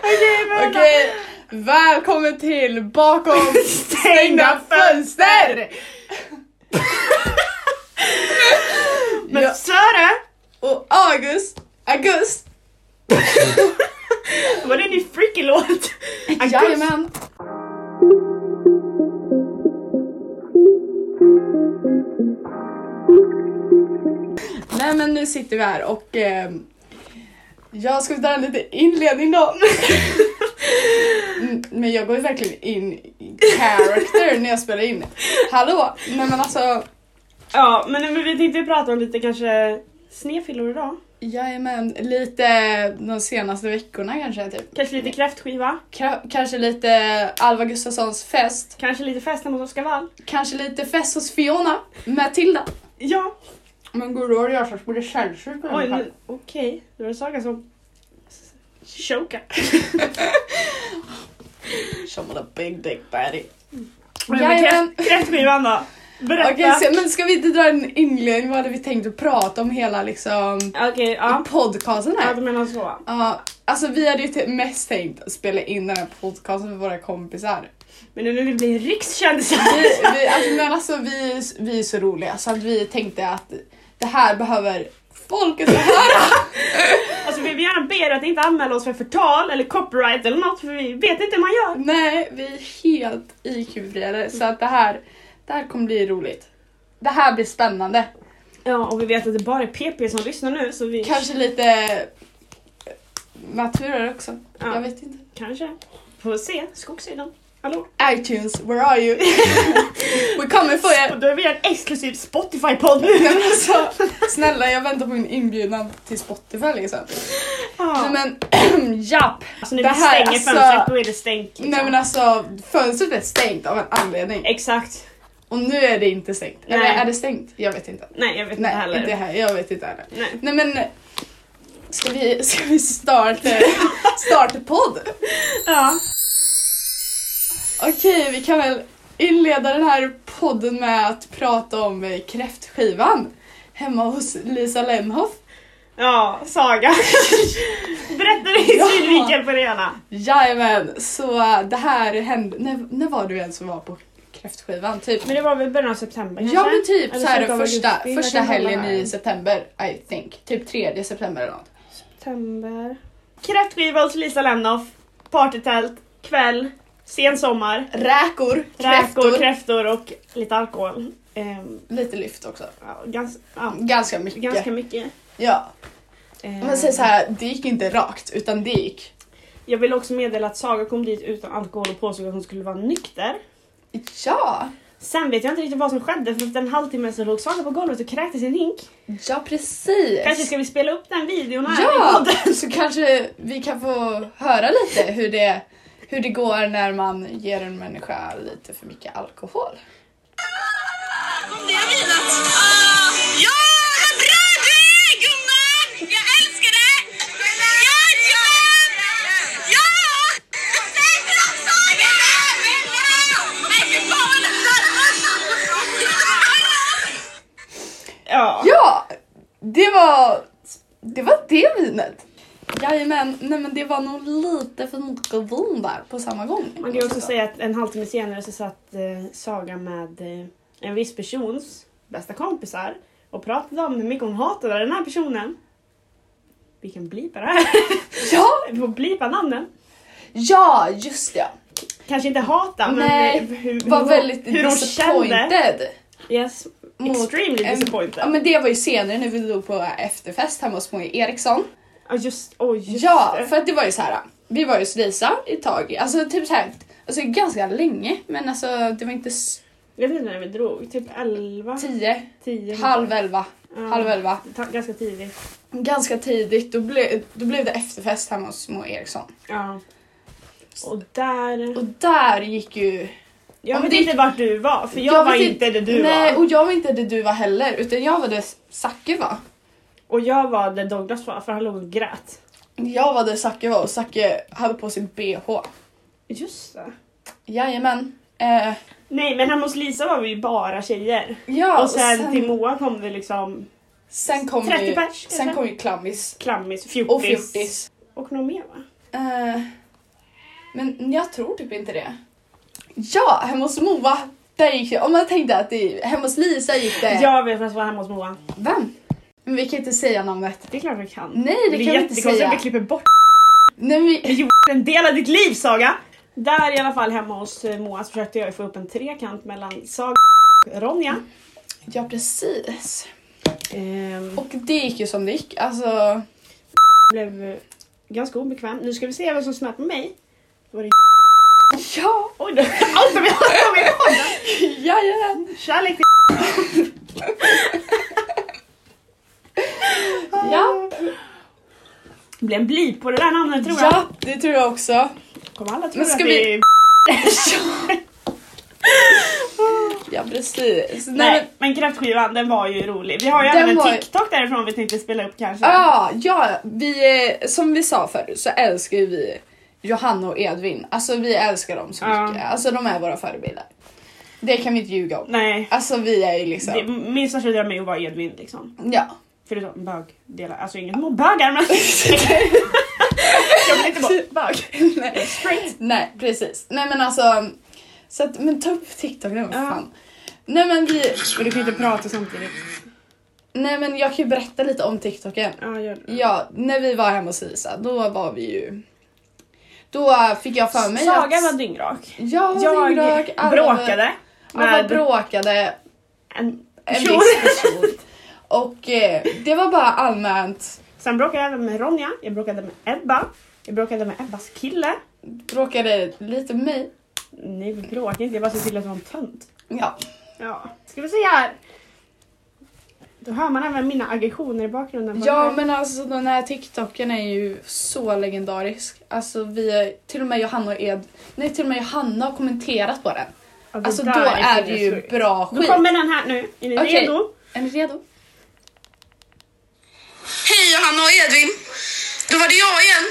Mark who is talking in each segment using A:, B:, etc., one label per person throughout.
A: Okej,
B: Okej, välkommen till bakom stängda fönster!
A: men
B: Ja.
A: Sara,
B: Och August, August,
A: var det en ny freaky låt? August.
B: jajamän! Nej men nu sitter vi här och eh, jag ska ta en liten inledning då. Mm, Men jag går ju verkligen in i character när jag spelar in. Hallå! Nej men alltså,
A: Ja, men, men vi tänkte prata om lite kanske snefyllor idag.
B: jajamän, lite de senaste veckorna kanske typ.
A: Kanske lite kräftskiva,
B: Ka- kanske lite Alva Gustafssons fest.
A: kanske lite festen mot Oscar Wall.
B: Kanske lite fest hos Fiona. Matilda.
A: Ja,
B: Men går det att göra så att det blir sällsynt på
A: oj, nu- okej. Det var Saga som choka.
B: Som en big dick baddie.
A: Men
B: Jajamän.
A: kräft- Kräftskivan då? Berätta.
B: Okej, så- men ska vi inte dra en inledning? Vad hade vi tänkt att prata om hela liksom
A: Okej, ja.
B: podcasten här?
A: Ja, du menar så.
B: Ja, alltså vi hade ju t- mest tänkt att spela in den här podcasten för våra kompisar.
A: Men nu när vi blir rikskändisar.
B: Vi, vi, alltså, men alltså, vi, vi är så roliga så att vi tänkte att det här behöver folket få höra.
A: Alltså vi vill gärna be er att inte anmäla oss för förtal eller copyright eller något för vi vet inte hur man gör.
B: Nej, vi är helt IQ-friade så att det här, det här kommer bli roligt. Det här blir spännande.
A: Ja, och vi vet att det bara är PP som lyssnar nu så vi...
B: Kanske lite eh, naturer också.
A: Ja.
B: Jag vet inte.
A: Kanske. Får se, skogssidan. Hallå?
B: iTunes, where are you? We coming for
A: Och
B: you!
A: då är vi en exklusiv Spotify-podd nu!
B: Nej, men alltså, snälla, jag väntar på en inbjudan till Spotify liksom.
A: Ja.
B: Nej men, japp!
A: alltså när
B: det
A: vi
B: här,
A: stänger
B: alltså-
A: fönstret då är det stängt. liksom.
B: Nej men alltså, fönstret är stängt av en anledning.
A: Exakt.
B: Och nu är det inte stängt. Eller
A: Nej.
B: är det stängt? Jag vet inte.
A: Nej, jag vet inte
B: Nej,
A: heller.
B: inte här. Jag vet inte heller.
A: Nej.
B: Nej men, ska vi, ska vi eh, starta, starta podd?
A: Ja.
B: Okej, vi kan väl inleda den här podden med att prata om eh, kräftskivan hemma hos Lisa Lenhoff.
A: ja, Saga. Berätta din
B: Ja.
A: synvinkel på det hela.
B: Jajamän, så eh, det här hände, när, när var du ens som var på kräftskivan? Typ?
A: Men det var väl början av september Mm. kanske?
B: Ja men typ
A: Eller
B: så här
A: slutet av
B: första,
A: augusti. Jag
B: första
A: kan kolla
B: helgen
A: här.
B: i september, I think. Typ tredje september eller något.
A: September. Kräftskiva hos Lisa Lennoff. Partytält. Kväll. Sen sommar.
B: Räkor,
A: Räkor,
B: kräftor,
A: kräftor och lite alkohol. Ehm,
B: lite lyft också.
A: ja, gans, ja,
B: Ganska mycket.
A: ganska mycket.
B: Ja.
A: Ehm,
B: Om man säger så här, det gick inte rakt utan det gick.
A: Jag vill också meddela att Saga kom dit utan alkohol och påstod att hon skulle vara nykter.
B: Ja,
A: Sen vet jag inte riktigt vad som skedde för efter en halvtimme så låg Saga på golvet och kräktes i en hink.
B: ja precis.
A: Kanske ska vi spela upp den videon här i
B: Ja,
A: podden?
B: så kanske vi kan få höra lite hur det, hur det går när man ger en människa lite för mycket alkohol.
C: Om det har vilat. Ah, ja, vad bra du är gumman! Jag älskar dig! Ja, ja! Ja! Säg till dem Saga! Nej, fy fan vad lätt!
A: Ja.
B: Ja, det var det, var det vinet. Jajamän, nej men det var nog lite för mycket vin där på samma gång.
A: Man kan ju också säga att en halvtimme senare så satt eh, Saga med eh, en viss persons bästa kompisar och pratade om hur mycket hon hatade den här personen. Vi kan blipa det här.
B: Ja,
A: Vi får blipa namnen.
B: ja just det.
A: Kanske inte hata men
B: Nej,
A: eh, hur, hur,
B: Var
A: hon-
B: väldigt
A: hur hon kände.
B: disappointed.
A: Yes,
B: mot
A: extremely
B: en-
A: disappointed.
B: Ja men det var ju senare när vi drog på efterfest hemma hos Moje Eriksson.
A: Ja, just, oh, just
B: Ja,
A: det.
B: för att det var ju så här. Vi var ju hos Lisa ett tag, alltså typ så här, alltså ganska länge, men alltså det var inte s-
A: Jag vet inte när vi drog, typ 11,
B: tio,
A: 10.
B: halv elva, halv elva.
A: Ganska tidigt.
B: Ganska tidigt, då, ble, då blev det efterfest hemma hos Mo Eriksson.
A: Ja. Och där...
B: Och där gick ju...
A: Jag
B: om
A: vet
B: det-
A: inte vart du var för jag, var
B: vet
A: inte där du var.
B: Nej, och jag var inte där du var heller, utan jag var där Zacke var.
A: Och jag var där Douglas var för han låg och grät.
B: Jag var där Zacke var och Zacke hade på sig bh.
A: Just det.
B: Jajamän. Eh,
A: Nej men hemma hos Lisa var vi ju bara tjejer.
B: ja,
A: och sen till Moa kom det liksom
B: Sen kom
A: 30
B: ju,
A: pers,
B: sen
A: kanske?
B: kom ju klammis
A: Klammis, fjortis.
B: och fjortis.
A: Och något mer va?
B: Eh, men jag tror typ inte det. Ja, hemma hos Moa. Där gick det. Om man tänkte att det, hemma hos Lisa gick det.
A: Jag vet vem som var hemma hos Moa.
B: Vem? Men vi kan inte säga namnet.
A: Det är klart vi kan.
B: Nej, det kan vi inte
A: jättekonstigt
B: säga.
A: att vi klipper bort
B: Nej, men vi,
A: en del av ditt liv Saga! Där i alla fall hemma hos eh, Moa så försökte jag ju få upp en trekant mellan Saga och Ronja.
B: ja, precis.
A: Ehm, och
B: Och det gick ju som det gick. Alltså,
A: blev eh, ganska obekväm. Nu ska vi se vem som snöt på mig.
B: ja,
A: Oj då! Allt som jag har med podden!
B: jajamän.
A: Kärlek till
B: Ja,
A: Det blev en blip på det där namnet tror jag.
B: ja, det tror jag också.
A: Kommer alla tro
B: Men ska
A: att vi...
B: vi- Ja, precis. Nej,
A: Nej
B: men,
A: men kräftskivan den var ju rolig. Vi har ju
B: Den
A: även en
B: var ju-
A: TikTok därifrån vi tänkte spela upp kanske.
B: ah, ja, vi, eh, som vi sa förut så älskar ju vi Johanna och Edvin. Alltså vi älskar dem så
A: Ja.
B: mycket. Alltså de är våra förebilder. Det kan vi inte ljuga om.
A: Nej.
B: Alltså vi är ju
A: Det,
B: liksom,
A: min största dröm är ju att vara Edvin liksom.
B: ja.
A: Förutom bögdelar. Alltså inget mot bögar men... jag vill inte vara bög.
B: Nej. Nej, precis. Nej men alltså, så att, men ta upp TikTok nu, vad
A: Ja.
B: fan. Nej men vi,
A: Men du kan ju inte prata samtidigt.
B: nej men jag kan ju berätta lite om TikToken.
A: Ja, gör det.
B: Ja, när vi var hemma hos Lisa, då var vi ju, då eh, fick jag för mig
A: Saga
B: att...
A: var dyngrak.
B: jag var
A: Jag
B: dyngrak, alla var-
A: bråkade
B: Alla
A: med
B: Alltså, bråkade,
A: en
B: en
A: person.
B: viss person. Och eh, det var bara allmänt,
A: Sen bråkade jag även med Ronja, jag bråkade med Ebba, jag bråkade med Ebbas kille.
B: bråkade lite med mig.
A: Nej vi bråkade inte, jag bara såg till att det var en tönt.
B: Ja,
A: Ja, ska vi se här. Då hör man även mina aggressioner i bakgrunden.
B: Ja men alltså den här TikToken är ju så legendarisk. Alltså vi, är- till och med Johanna och Ed, nej till och med Johanna har kommenterat på den.
A: Ja, det
B: Alltså
A: där
B: då är det
A: så
B: ju
A: sjukt.
B: bra
A: Då
B: skit.
A: kommer den här nu. Är ni
B: Okej.
A: redo?
B: Är ni redo?
C: Hej Johanna och Edvin. Då var det jag igen.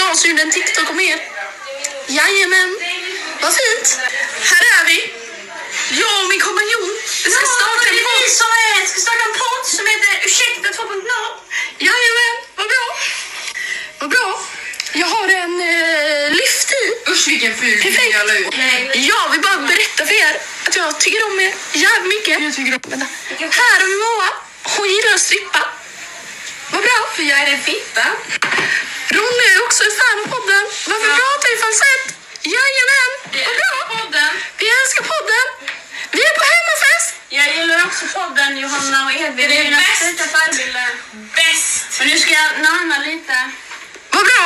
C: Jag som gjorde en TikTok om er. Jajamän. Vad fint. Här är vi. Jag och min kompanjon. Vi ska starta en podd. Som är, ska starta en podd som heter Ursäkta 2.0. Jajamän. Vad bra. Vad bra. Jag har en eh, lyft i. Usch vilken ful Perfekt. jag ut. Jag vill bara berätta för er att jag tycker om er jävligt mycket. Jag tycker om... Vänta. Här har vi Moa. Hon gillar att strippa. Vad bra, för jag är en fitta. Ronny är också ett fan av podden. Varför pratar vi falsett? Jajamän, vad bra. Podden. Vi älskar podden. Vi är på hemmafest.
D: Jag gillar också podden Johanna och Edvin. Det är mina bästa förebilder. Bäst! Men nu ska jag nana lite.
C: Vad bra.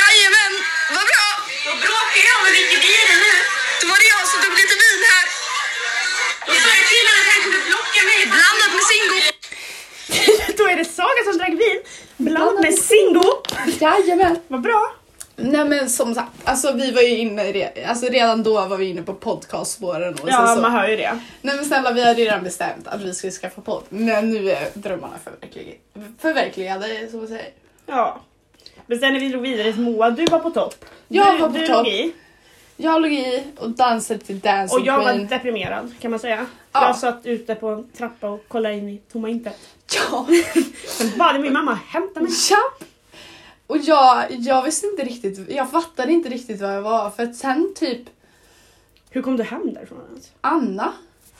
C: Jajamän, vad bra.
D: Då bråkar jag med dricker bilen nu.
C: Då var det jag som tog lite vin här.
D: Då sa jag till honom att han kunde blocka mig.
C: Blandat med Singo.
A: Då är det Saga som drack vin blandat med Singo.
B: Jajamän!
A: Vad bra!
B: Nej men som sagt, alltså vi var ju inne, i re- alltså redan då var vi inne på podcastspåren och sen
A: Ja,
B: så.
A: man hör ju det.
B: Nej men snälla vi hade ju redan bestämt att vi skulle skaffa podd. Men nu är drömmarna förverkligade, förverkligade som man säger.
A: Ja. Men sen när vi drog vidare till Moa, du var på topp.
B: Jag
A: du,
B: var på
A: du
B: topp.
A: låg i.
B: Jag låg i och dansade till Dancing
A: Och jag var
B: Queen.
A: deprimerad kan man säga.
B: Ja.
A: Jag satt ute på en trappa och kollade in i tomma intet.
B: Ja.
A: Sen bad min mamma hämta mig.
B: Ja. Och jag, jag visste inte riktigt, jag fattade inte riktigt vad jag var för att sen typ
A: Hur kom du hem därifrån alltså? ens?
B: Anna.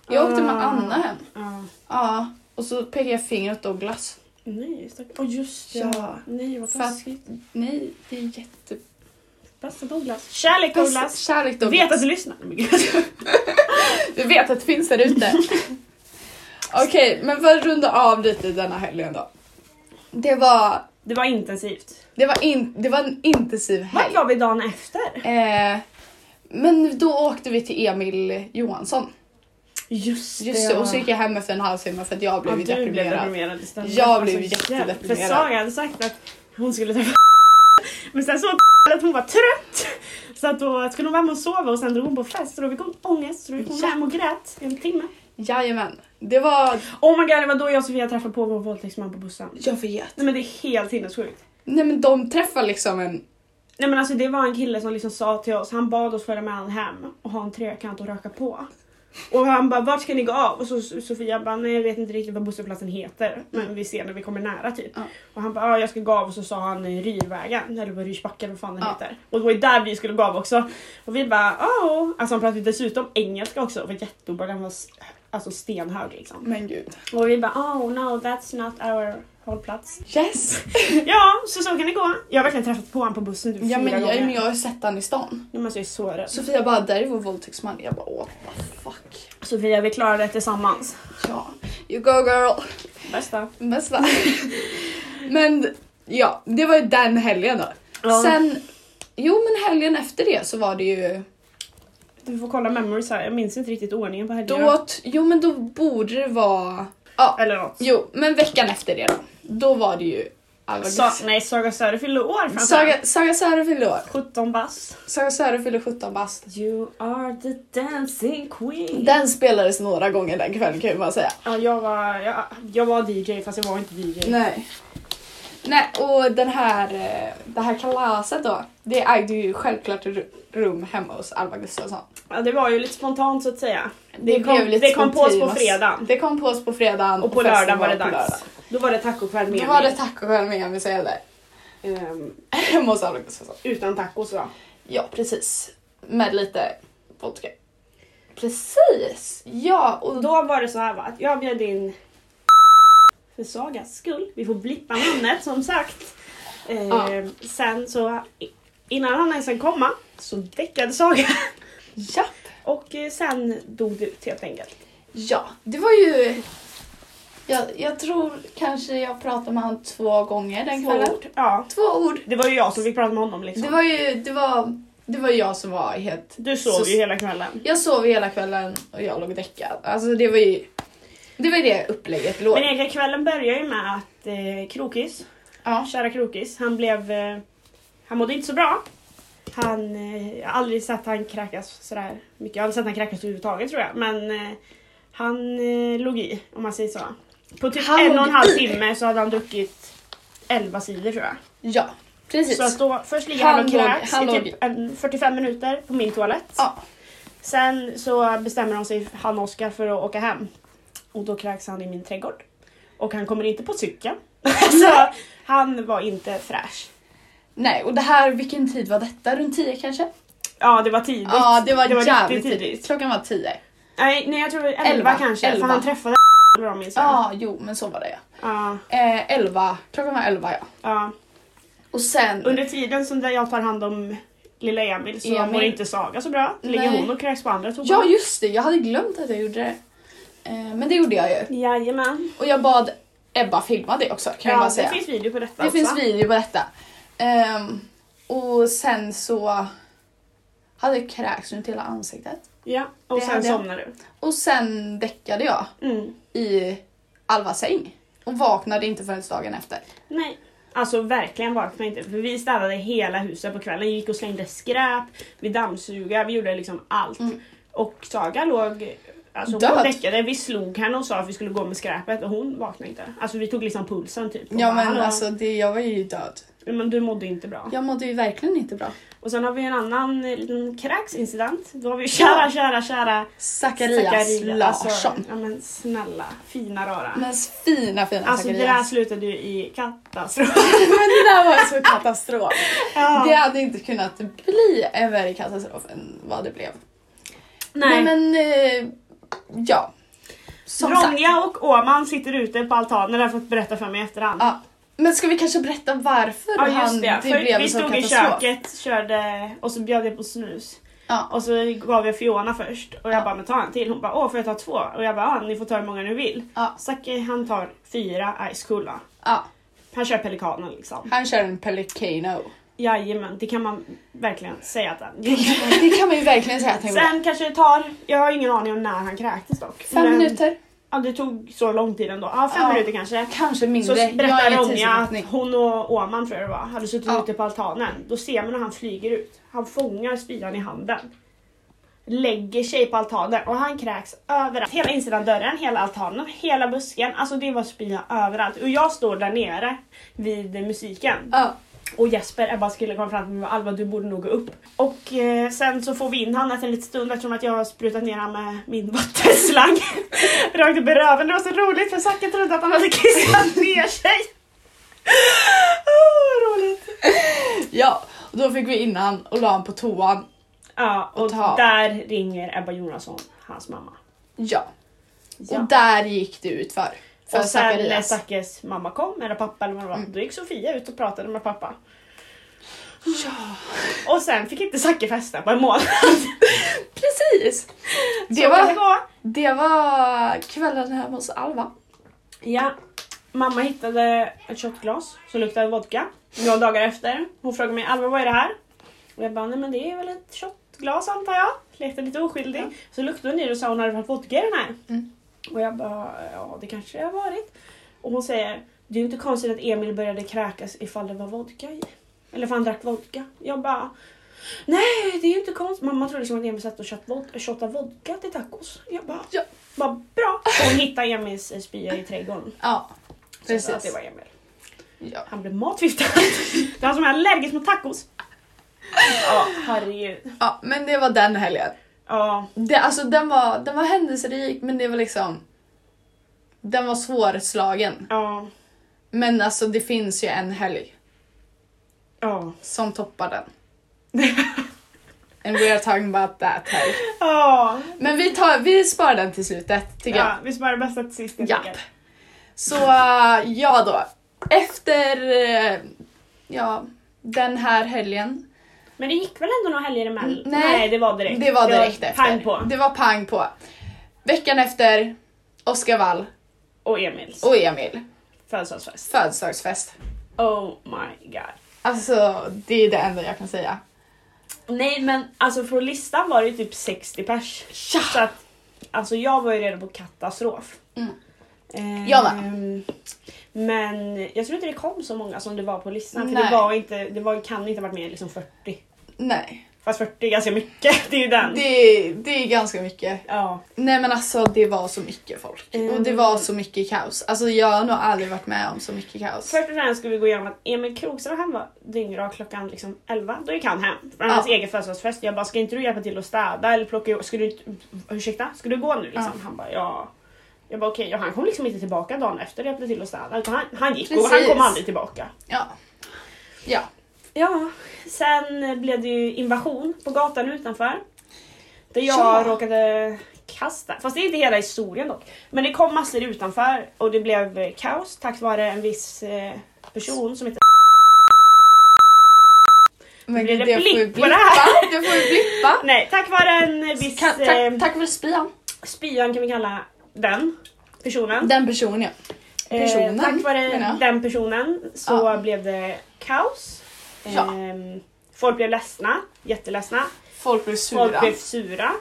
B: Jag åkte med
A: Ah.
B: Anna hem.
A: Ja.
B: Ja. Och så pekade jag finger åt Douglas.
A: Nej, stackars. Åh just det.
B: Ja.
A: Nej, vad
B: För att-
A: taskigt.
B: Nej, det är jätte...
A: Bästa Douglas. Kärlek Douglas.
B: Kärlek
A: Jag
B: Douglas.
A: vet att du lyssnar. Men gud.
B: Du vet att det finns där ute. Okej, men för att runda av lite denna helgen då. Det var,
A: Det var intensivt.
B: det var, in, det var en intensiv
A: Vart
B: helg.
A: var vi dagen efter?
B: Eh, men då åkte vi till Emil Johansson.
A: Just det.
B: Just det, och så gick jag hem efter en halvtimme för att jag blev
A: ja,
B: ju
A: du blev
B: deprimerad.
A: deprimerad istället.
B: Jag blev
A: jävlar.
B: jättedeprimerad.
A: För Saga hade sagt att hon skulle träffa Men sen såg att hon var trött. Så att då skulle hon vara hemma och sova och sen drog hon på fest och då fick hon ångest. Så då gick hon
B: Ja.
A: hem och grät i en timme.
B: Jajamän. Det var...
A: Oh my god, det var då jag och Sofia träffade på vår våldtäktsman på bussen.
B: Jag vet.
A: Nej men det är helt sinnessjukt.
B: Nej men de träffar liksom en...
A: Nej men alltså det var en kille som liksom sa till oss, han bad oss följa med honom hem och ha en trekant och röka på. Och han bara, vart ska ni gå av? Och så Sofia bara, nej jag vet inte riktigt vad busshållplatsen heter. Men vi ser när vi kommer nära typ.
B: Ja.
A: Och han bara, ja jag ska gå av och så sa han eh, Ryrvägen, eller vad Ryrsbacken vad fan den
B: Ja.
A: heter. Och det var ju där vi skulle gå av också. Och vi bara, åh. Alltså han pratade dessutom engelska också och var jätteobehaglig. Han var s- alltså stenhög liksom.
B: Men gud.
A: Och vi bara, oh no that's not our hållplats.
B: Yes!
A: Ja, så så kan det gå. Jag har verkligen träffat på honom på bussen typ
B: ja,
A: fyra
B: men jag,
A: gånger.
B: men jag har ju sett han i stan.
A: Men alltså jag är så rädd.
B: Sofia bara, där är vår våldtäktsman. Jag bara, åh, vad fuck.
A: Sofia, vi klarar det tillsammans.
B: Ja, you go girl.
A: Bästa.
B: Bästa. men ja, det var ju den helgen då.
A: Ja.
B: Sen, jo men helgen efter det så var det ju
A: Du får kolla memories här, jag minns inte riktigt ordningen på helgerna.
B: då, t- jo men då borde det vara, ja,
A: Eller något.
B: jo men veckan efter det då. Då var det ju alla
A: Sa, nej, Saga Söder fyllde år framförallt.
B: Saga, Saga Söre fyllde år.
A: 17 bass.
B: Saga Söre fyllde 17 bast.
A: You are the dancing queen.
B: Den spelades några gånger den kvällen kan man säga.
A: Ja, jag var, jag, jag var DJ fast jag var inte DJ.
B: Nej. Nej, och den här, eh, det här kalaset då, det ägde ju självklart ru- rum hemma hos Alva Gustafsson.
A: Ja, det var ju lite spontant så att säga.
B: Det,
A: kom-
B: blev lite
A: det kom på oss
B: spontant.
A: på fredagen.
B: Det kom på oss på fredagen
A: Och på
B: festen
A: lördagen var det
B: på
A: dags.
B: lördagen.
A: Då var det tacokväll med
B: Då var det
A: mig.
B: tacokväll med Emil Söder.
A: Ehm,
B: Hemma hos Alva Gustafsson.
A: utan tacos va?
B: Ja, precis. Med lite vodka. Precis! Ja, och
A: Och
B: då...
A: då var det så här va, att jag bjöd in för Sagas skull, vi får blippa namnet som sagt. Eh,
B: Ja.
A: Sen så, i- innan han ens hann komma så däckade Saga.
B: Ja.
A: Och eh, sen dog det ut helt enkelt.
B: Ja, det var ju... Jag, jag tror kanske jag pratade med han två gånger den kvällen.
A: Två ord. Ja.
B: Två ord.
A: Det var ju jag som fick prata med honom liksom.
B: Det var ju det var, det var jag som var helt...
A: Du sov
B: så-
A: ju hela kvällen.
B: Jag sov hela kvällen och jag låg däckad. Alltså det var ju... Det var det upplägget låg.
A: Men egentligen kvällen börjar ju med att eh, Krokis,
B: Ja.
A: kära Krokis, han blev... Eh, han mådde inte så bra. Han, eh, jag har aldrig sett han kräkas sådär mycket. Jag har aldrig sett han kräkas överhuvudtaget tror jag. Men eh, han eh, låg i, om man säger så. På typ
B: Han
A: en och en
B: låg
A: halv
B: i.
A: timme så hade han druckit 11 sidor tror jag.
B: Ja, precis.
A: Så att då, först ligger han,
B: Han
A: och
B: låg-
A: kräks
B: han
A: i
B: låg
A: typ en 45 minuter på min toalett.
B: Ja.
A: Sen så bestämmer de sig, han och Oskar, för att åka hem. Och då kräks han i min trädgård. Och han kommer inte på cykeln. så han var inte fräsch.
B: Nej, och det här, vilken tid var detta? Runt tio kanske?
A: Ja, det var tidigt.
B: Ja, det var,
A: riktigt
B: jävligt tidigt. Klockan var tio.
A: Nej, nej, jag tror det var 11,
B: Elva,
A: kanske.
B: elva.
A: För han träffade eller vad minns jag.
B: Ja, jo, men så var det ja.
A: Ja,
B: Eh, elva. Klockan var elva ja.
A: ja.
B: Och sen...
A: Under tiden som jag tar hand om lilla Emil så
B: Emil.
A: mår inte Saga så bra. Ligger
B: Nej.
A: hon och kräks på andra toan.
B: Ja, just det. Jag hade glömt att jag gjorde det. Eh, men det gjorde jag ju.
A: Jajamän.
B: Och jag bad Ebba filma det också kan jag
A: Ja,
B: bara
A: det
B: säga.
A: finns video på detta
B: Det
A: också.
B: finns video på detta. Ehm, och sen så hade jag kräks runt hela ansiktet.
A: Ja, och
B: Det
A: sen
B: hade jag.
A: somnar du.
B: Och sen däckade jag
A: Mm.
B: i Alvas säng. Och vaknade inte förrän dagen efter.
A: Nej. Alltså verkligen vaknade inte. För vi städade hela huset på kvällen. Gick och slängde skräp. Vi dammsugade. Vi gjorde liksom allt. Och Saga låg Alltså hon
B: Mm. Död.
A: däckade, vi slog henne och sa att vi skulle gå med skräpet och hon vaknade inte. Alltså vi tog liksom pulsen typ. och
B: Ja
A: bara,
B: men
A: "Hallå."
B: alltså det, jag var ju död.
A: Men du mådde inte bra.
B: Jag mådde ju verkligen inte bra.
A: Och sen har vi en annan eh, liten kräksincident. Då har vi kära, kära, kära
B: Zacharias, Larsson.
A: Alltså, ja men snälla, fina rara.
B: Men fina fina
A: alltså det där
B: Zacharias.
A: slutade ju i katastrof.
B: men det där var så katastrof.
A: Ja.
B: Det hade inte kunnat bli en värre katastrof än vad det blev. Nej, men eh, ja. Som sagt.
A: Ronja och Åman sitter ute på altanen, det har jag fått berätta för mig i efterhand.
B: Ja. Men ska vi kanske berätta varför
A: Ja,
B: han,
A: just det,
B: det
A: för
B: blev
A: vi
B: en sån
A: stod i
B: katastrof?
A: köket körde, och så bjöd jag på snus.
B: Ja.
A: Och så gav jag Fiona först och jag
B: Ja.
A: bara men ta en till. Hon bara åh får jag ta två? Och jag bara ja ni får ta hur många ni vill.
B: Ja.
A: Zacke han tar fyra Ice Cola.
B: ja,
A: Han kör Pelikanen liksom.
B: han kör en Pelicano.
A: Jajamän, det kan man verkligen säga att han
B: Det kan man ju verkligen säga att han gjorde.
A: Sen kanske det tar, jag har ingen aning om när han kräktes dock.
B: Fem
A: Men-
B: minuter,
A: Ja det tog så lång tid ändå. Ja fem
B: Ja.
A: minuter kanske.
B: kanske
A: Så
B: mindre. Jag har
A: berättar
B: ingen
A: Ronja
B: tidsuppfattning.
A: att hon och Åman tror jag det var, hade suttit
B: Ja.
A: ute på altanen. Då ser man när han flyger ut. Han fångar spyan i handen. Lägger sig på altanen och han kräks överallt. Hela insidan dörren, hela altanen, hela busken. Alltså det var spya överallt. Och jag står där nere vid musiken.
B: Ja.
A: Och Jesper, Ebba skulle komma fram till mig och bara, Alva du borde nog gå upp. Och eh, sen så får vi in han efter en liten stund eftersom att jag har sprutat ner han med min vattenslang. Rakt upp i röven. Det var så roligt för Zacke trodde att han hade kissat ner sig. Åh, vad roligt.
B: Ja, och då fick vi in han och la han på toan.
A: Ja, och
B: Och ta.
A: där ringer Ebba Jonasson, hans mamma.
B: Ja.
A: Ja.
B: Och där gick det ut för. För
A: och sen när
B: Zacharias.
A: Zackes mamma kom, eller pappa eller vad det
B: Mm.
A: var, då gick Sofia ut och pratade med pappa. Och sen fick inte Zacke festa på en månad.
B: Precis! Det
A: Så kan det
B: var,
A: gå.
B: det var kvällen hemma hos Alva.
A: Ja. Mamma hittade ett shotglas som luktade vodka. Några dagar efter. Hon frågade mig Alva vad är det här? Och jag bara nej men det är väl ett shotglas antar jag. Lekte lite oskyldig. Så luktade hon i det och sa hon hade varit vodka i den här.
B: Mm.
A: Och jag bara ja det kanske det har varit. Och hon säger det är ju inte konstigt att Emil började kräkas ifall det var vodka i. Eller för han drack vodka. Jag bara nej det är ju inte konstigt. Mamma trodde liksom att Emil satt och shot vod- shotade vodka till tacos. Jag bara
B: Ja.
A: bara bra. Och hon hittade Emils eh, spya i trädgården.
B: Ja,
A: Så jag sa att det
B: precis.
A: var Emil.
B: Ja.
A: Han blev matförgiftad. Det är han som är allergisk mot tacos. Ja, herregud.
B: ja, men det var den helgen.
A: Ja,
B: Det, alltså, den, var, den var händelserik men det var liksom... Den var svårslagen.
A: ja,
B: Men alltså det finns ju en helg
A: ja.
B: som toppar den. And we are talking about that helg.
A: Ja,
B: Men vi, tar, vi sparar den till slutet tycker jag.
A: ja vi sparar det bästa till sist. jag
B: Japp.
A: tycker.
B: Så eh, ja då. Efter eh, ja, den här helgen.
A: Men det gick väl ändå några helger emellan?
B: Mm, nej.
A: det var direkt.
B: Det var direkt efter.
A: Pang på.
B: Det var pang på. Veckan efter Oskar Wall
A: Och Emils
B: och Emil.
A: födelsedagsfest.
B: Födelsedagsfest.
A: Oh my god.
B: Alltså det är det enda jag kan säga.
A: Nej men alltså från listan var det ju typ 60 pers.
B: Ja.
A: Så att, alltså jag var ju redo på katastrof.
B: Mm.
A: Eh,
B: Jag var.
A: Men jag tror inte det kom så många som det var på listan. För
B: Nej.
A: det, var inte, det var, kan inte ha varit mer än liksom 40.
B: Nej,
A: Fast 40 är ganska mycket, det är ju den.
B: det, det är ganska mycket.
A: Ja.
B: Nej men alltså det var så mycket folk.
A: Mm.
B: Och det var så mycket kaos. Alltså jag har nog aldrig varit med om så mycket kaos.
A: Först och främst ska vi gå igenom att Emil Krogström han var dyngrak klockan liksom 11. Då gick han hem från hans
B: Ja.
A: egen födelsedagsfest. Jag bara, ska inte du hjälpa till att städa eller plocka ihop? Ska du inte, ursäkta, ska du gå nu liksom?
B: Ja.
A: Han bara, ja. Jag bara okej, och han kom liksom inte tillbaka dagen efter och hjälpte till att städa. Utan han, han gick och han
B: Precis.
A: kom aldrig tillbaka.
B: Ja. Ja.
A: Ja, sen blev det ju invasion på gatan utanför. Där jag
B: Ja.
A: råkade kasta, fast det är inte hela historien dock. Men det kom massor utanför och det blev eh, kaos tack vare en viss eh, person som inte...
B: Men
A: Blir
B: gud,
A: det
B: det får vi
A: blipp på det
B: blippa.
A: här?
B: Det får vi blippa.
A: Nej, tack vare en eh, viss
B: Ka-
A: eh,
B: tack, tack för spyan.
A: spyan kan vi kalla den personen.
B: Den personen ja. personen,
A: eh, tack
B: menar
A: vare
B: jag.
A: den personen så
B: Ja.
A: blev det kaos.
B: Ja.
A: Ehm, folk blev ledsna, jätteledsna.
B: Folk blev
A: Folk
B: sura.
A: blev sura.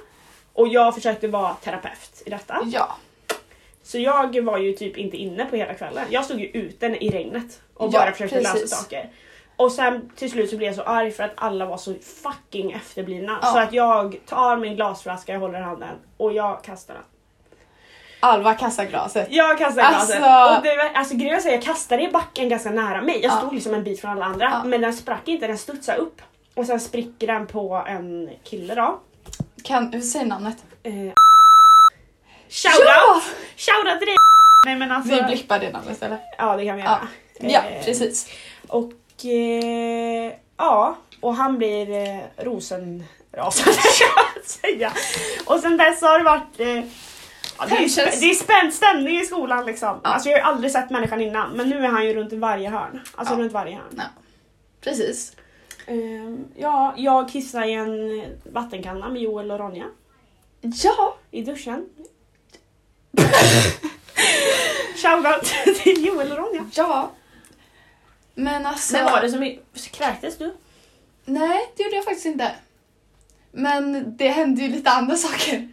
A: Och jag försökte vara terapeut i detta.
B: Ja.
A: Så jag var ju typ inte inne på hela kvällen. Jag stod ju ute i regnet och
B: Ja,
A: bara försökte
B: precis.
A: lösa saker. Och sen till slut så blev jag så arg för att alla var så fucking efterblivna.
B: Ja.
A: Så att jag tar min glasflaska, jag håller i handen och jag kastar den.
B: Alva kastar glaset.
A: Jag kastar
B: Alltså-
A: glaset. Och det, var- alltså grejen är att jag kastade i backen ganska nära mig. Jag
B: Ja.
A: stod liksom en bit från alla andra.
B: Ja.
A: Men den sprack inte, den studsade upp. Och sen spricker den på en kille då.
B: Kan, säg namnet.
A: Eh, Shoutout!
B: Ja!
A: Shoutout till dig! Nej men alltså,
B: Vi blippar det namnet eller?
A: ja det kan vi
B: Ja.
A: göra.
B: Ja,
A: Eh,
B: precis.
A: Och eh, ja, och han blir eh, rosenrasande kan man säga. Och sen dess har det varit eh, ja, det, är, ju spä- det är spänd stämning i skolan liksom.
B: Ja.
A: Alltså jag har ju aldrig sett människan innan men nu är han ju runt i varje hörn. Alltså
B: Ja.
A: runt varje hörn.
B: Ja. Precis.
A: Ehm, ja, jag kissade i en vattenkanna med Joel och Ronja
B: Ja.
A: i duschen. Shoutout till Joel och Ronja.
B: Ja. Men alltså.
A: Men var det som i- kräktes du?
B: Nej, det gjorde jag faktiskt inte. Men det hände ju lite andra saker.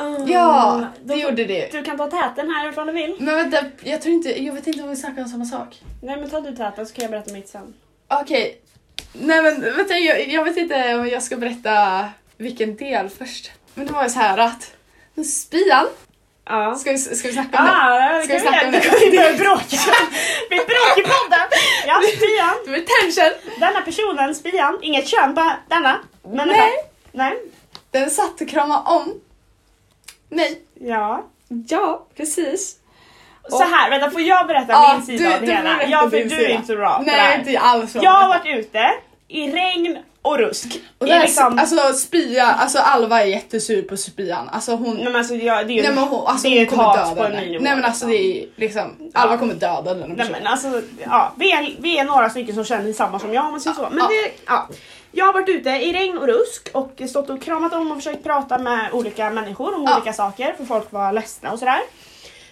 A: Ehm,
B: Ja, Mm, det gjorde det.
A: Du kan ta täten här ifrån du vill.
B: Men vänta, jag tror inte, jag vet inte om vi snackar om samma sak.
A: Nej men ta du täten så kan jag berätta mitt sen.
B: Okej. Nej men vänta, jag, jag vet inte om jag ska berätta vilken del först. Men det var ju så här att spian,
A: Ja.
B: ska vi, ska vi snacka om
A: Ah,
B: Ska vi
A: det kan
B: snacka
A: vi
B: om
A: göra.
B: det?
A: Vi börjar bråka. Vi bråkar i podden. Ja. Spyan.
B: Du är tension.
A: Denna personen, spyan. Inget kön, bara denna. Människa.
B: Nej.
A: Nej.
B: Den satt och kramade om mig.
A: Ja.
B: Ja, precis.
A: Så här, vänta får jag berätta
B: Ja,
A: min sida av det
B: får
A: hela?
B: berätta
A: Ja, för
B: din
A: du är
B: sida.
A: inte så bra på det
B: Nej,
A: här.
B: inte alls bra.
A: Jag har varit ute i regn och rusk.
B: Och
A: I
B: där,
A: liksom-
B: Alltså spya, alltså Alva är jättesur på spyan. Alltså hon,
A: Nej men alltså jag, det är ju
B: nej men hon, alltså,
A: det är
B: hon
A: ett
B: kommer
A: hat på
B: döda
A: en
B: henne.
A: ny
B: Nej
A: nivå,
B: men alltså
A: liksom.
B: det är liksom, Alva kommer döda den
A: Nej men alltså, ja, vi, är, vi är några stycken som känner samma som jag om man säger så. Men
B: Ja.
A: det, ja. Jag har varit ute i regn och rusk och stått och kramat om och försökt prata med olika människor om
B: Ja.
A: olika saker för folk var ledsna och sådär.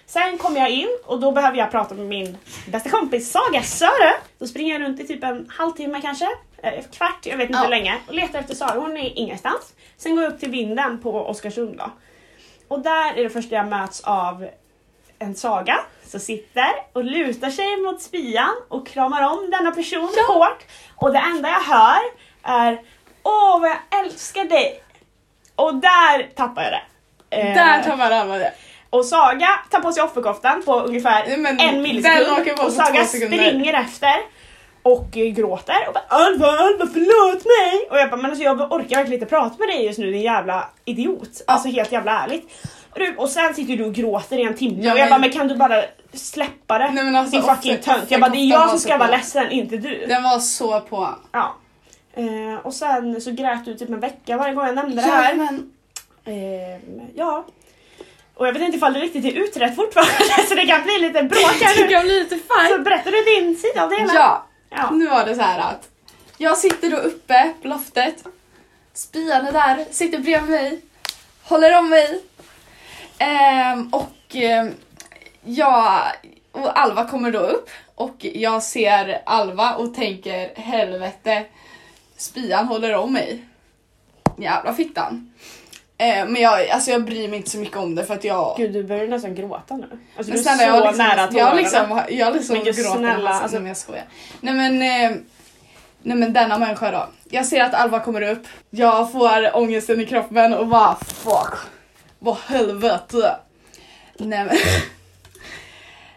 A: Sen kom jag in och då behöver jag prata med min bästa kompis Saga Söre. Då springer jag runt i typ en halvtimme kanske, eh, kvart, jag vet inte
B: Ja.
A: hur länge och letar efter Saga. Hon är ingenstans. Sen går jag upp till vinden på Oskarsund då. Och där är det första jag möts av en saga som sitter och lutar sig mot spyan och kramar om denna person hårt. Och det enda jag hör är Åh vad jag älskar dig! Och där tappar jag det. Eh,
B: Där tar man Alva det.
A: och Saga tar på sig offerkoftan på ungefär
B: Nej, men
A: en
B: den
A: millisekund
B: åker på
A: och
B: på
A: Saga
B: två sekunder.
A: springer efter och eh, gråter och bara Alva, Alva förlåt mig! Och jag bara men alltså jag orkar verkligen inte prata med dig just nu din jävla idiot. Alltså helt jävla ärligt. Och du- Och sen sitter du och gråter i en timme
B: Ja,
A: och jag
B: men-
A: bara men kan du bara släppa det?
B: Nej, men alltså,
A: din fucking
B: offer-
A: tönt. Jag bara det är
B: offerkoftan
A: jag
B: var
A: som
B: så
A: ska vara
B: bra.
A: ledsen inte du.
B: Den var så på.
A: Ja. Eh, och sen så grät du typ en vecka varje gång jag nämnde det
B: Ja,
A: här.
B: men,
A: Ehm, ja. Och jag vet inte ifall det riktigt är utrett fortfarande så det kan bli lite bråk här
B: det
A: nu.
B: kan bli lite fight.
A: Så berättar du din sida av det hela?
B: Ja,
A: Ja.
B: nu var det så här att jag sitter då uppe på loftet. Spyan är där, sitter bredvid mig, håller om mig. Ehm, och ehm, jag och Alva kommer då upp och jag ser Alva och tänker helvete, spyan håller om mig. Jävla fittan. Ehm, men jag, alltså jag bryr mig inte så mycket om det för att jag...
A: Gud du börjar nästan gråta nu. Alltså du är
B: Men
A: så
B: snälla, jag liksom,
A: nära tårarna.
B: jag liksom, jag liksom
A: Men gud,
B: gråter
A: snälla,
B: nästan,
A: alltså-
B: men jag skojar. Nej men, eh, nej men denna människa då. Jag ser att Alva kommer upp, jag får ångesten i kroppen och bara fuck. Vad helvete. Nej men.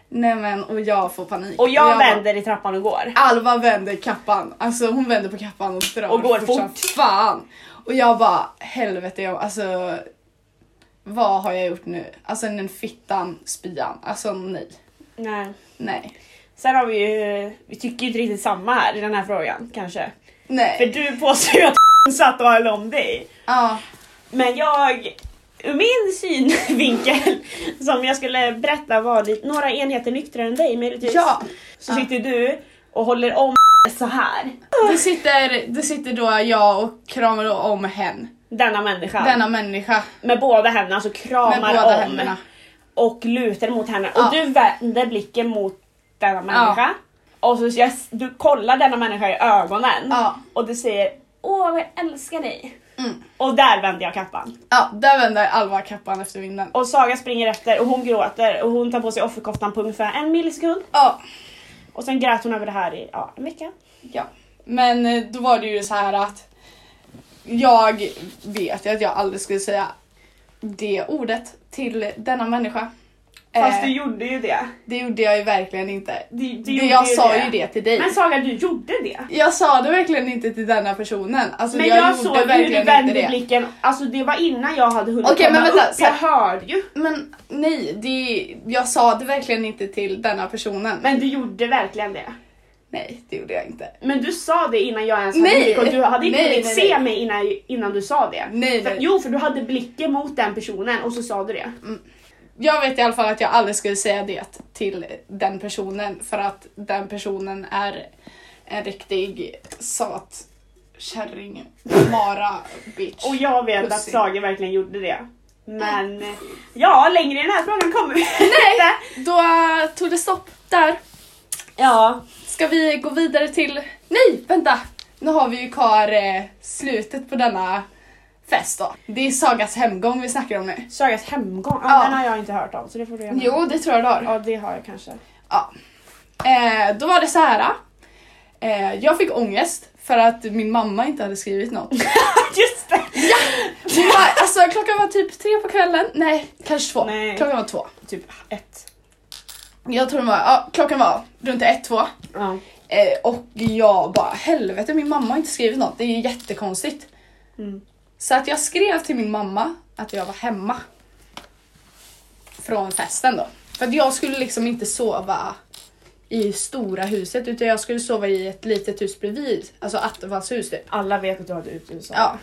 B: nej men och jag får panik.
A: Och
B: bara-
A: jag vänder i trappan och går.
B: Alva vänder kappan, alltså hon vänder på kappan och drar
A: Och går
B: som
A: fort.
B: fan. Och jag bara helvete, jag, alltså vad har jag gjort nu? Alltså den fittan, spyan, alltså nej.
A: Nej.
B: Nej.
A: Sen har vi ju, vi tycker ju inte riktigt samma här i den här frågan kanske. För
B: Nej.
A: du påstår ju att satt och höll om dig.
B: Ja.
A: Men jag, ur min synvinkel, som jag skulle berätta var lite- några enheter nyktrare än dig möjligtvis.
B: ja.
A: Så
B: Ja.
A: sitter du och håller om så här.
B: Det sitter, det sitter då jag och kramar om hen.
A: Denna människa.
B: Denna människa
A: Med båda händerna så
B: med
A: kramar
B: båda
A: om.
B: händerna.
A: Och lutar mot henne.
B: Ja.
A: Och du vänder blicken mot denna människa. Och så jag, du kollar denna människa i ögonen.
B: Ja.
A: Och du säger Åh vad jag älskar dig.
B: Mm.
A: Och där vänder jag kappan.
B: Ja, där vänder Alva kappan efter vinden.
A: Och Saga springer efter och hon gråter och hon tar på sig offerkoftan på ungefär en millisekund.
B: Ja.
A: Och sen grät hon över det här i ja, en vecka.
B: Ja, men eh, då var det ju så här att jag vet ju att jag aldrig skulle säga det ordet till denna människa.
A: Fast
B: Eh,
A: du gjorde ju det.
B: Det gjorde jag ju verkligen inte.
A: Du, du
B: Det
A: gjorde
B: jag sa ju det till dig.
A: Men Saga du gjorde det.
B: Jag sa det verkligen inte till denna personen. Alltså,
A: Men jag,
B: jag, gjorde
A: såg ju hur du
B: verkligen
A: vände
B: inte det.
A: blicken, alltså det var innan jag hade hunnit
B: Okej,
A: komma
B: men vänta,
A: upp,
B: så här-
A: jag hörde ju.
B: Men nej, det, jag sa det verkligen inte till denna personen.
A: Men du gjorde verkligen det.
B: Nej, det gjorde jag inte.
A: Men du sa det innan jag ens hade
B: Nej!
A: blick och du hade inte
B: Nej,
A: hunnit
B: nej,
A: se
B: nej.
A: mig innan, innan du sa det.
B: Nej,
A: för,
B: nej. Mm.
A: Jo, för du hade blicken mot den personen och så sa du det.
B: Jag vet i alla fall att jag aldrig skulle säga det till den personen för att den personen är en riktig söt kärring, mara, bitch.
A: Och jag vet
B: Pussy.
A: att Saga verkligen gjorde det. Men eh, ja, längre i den här frågan kommer vi inte.
B: Då eh, tog det stopp där.
A: Ja,
B: Ska vi gå vidare till... Nej, vänta! Nu har vi ju kvar eh, slutet på denna fest då. Det är Sagas hemgång vi snackar om nu.
A: Sagas hemgång, ja,
B: Ja.
A: den har jag inte hört om så det får du gärna.
B: Jo, det tror jag du har.
A: Ja, det har jag kanske.
B: Ja. Eh, då var det så här. Eh, jag fick ångest för att min mamma inte hade skrivit något.
A: Just det!
B: Hon bara, alltså klockan var typ tre på kvällen. Nej, kanske två.
A: Nej.
B: Klockan var två.
A: Typ ett.
B: Jag tror den var, ja, klockan var runt ett, två.
A: Ja.
B: Eh, och jag bara helvete min mamma har inte skrivit något, det är ju jättekonstigt.
A: Mm.
B: Så att jag skrev till min mamma att jag var hemma. Från festen då. För att jag skulle liksom inte sova i stora huset utan jag skulle sova i ett litet hus bredvid. Alltså Attefallshus typ.
A: Alla vet att du har ett uthus.
B: Ja.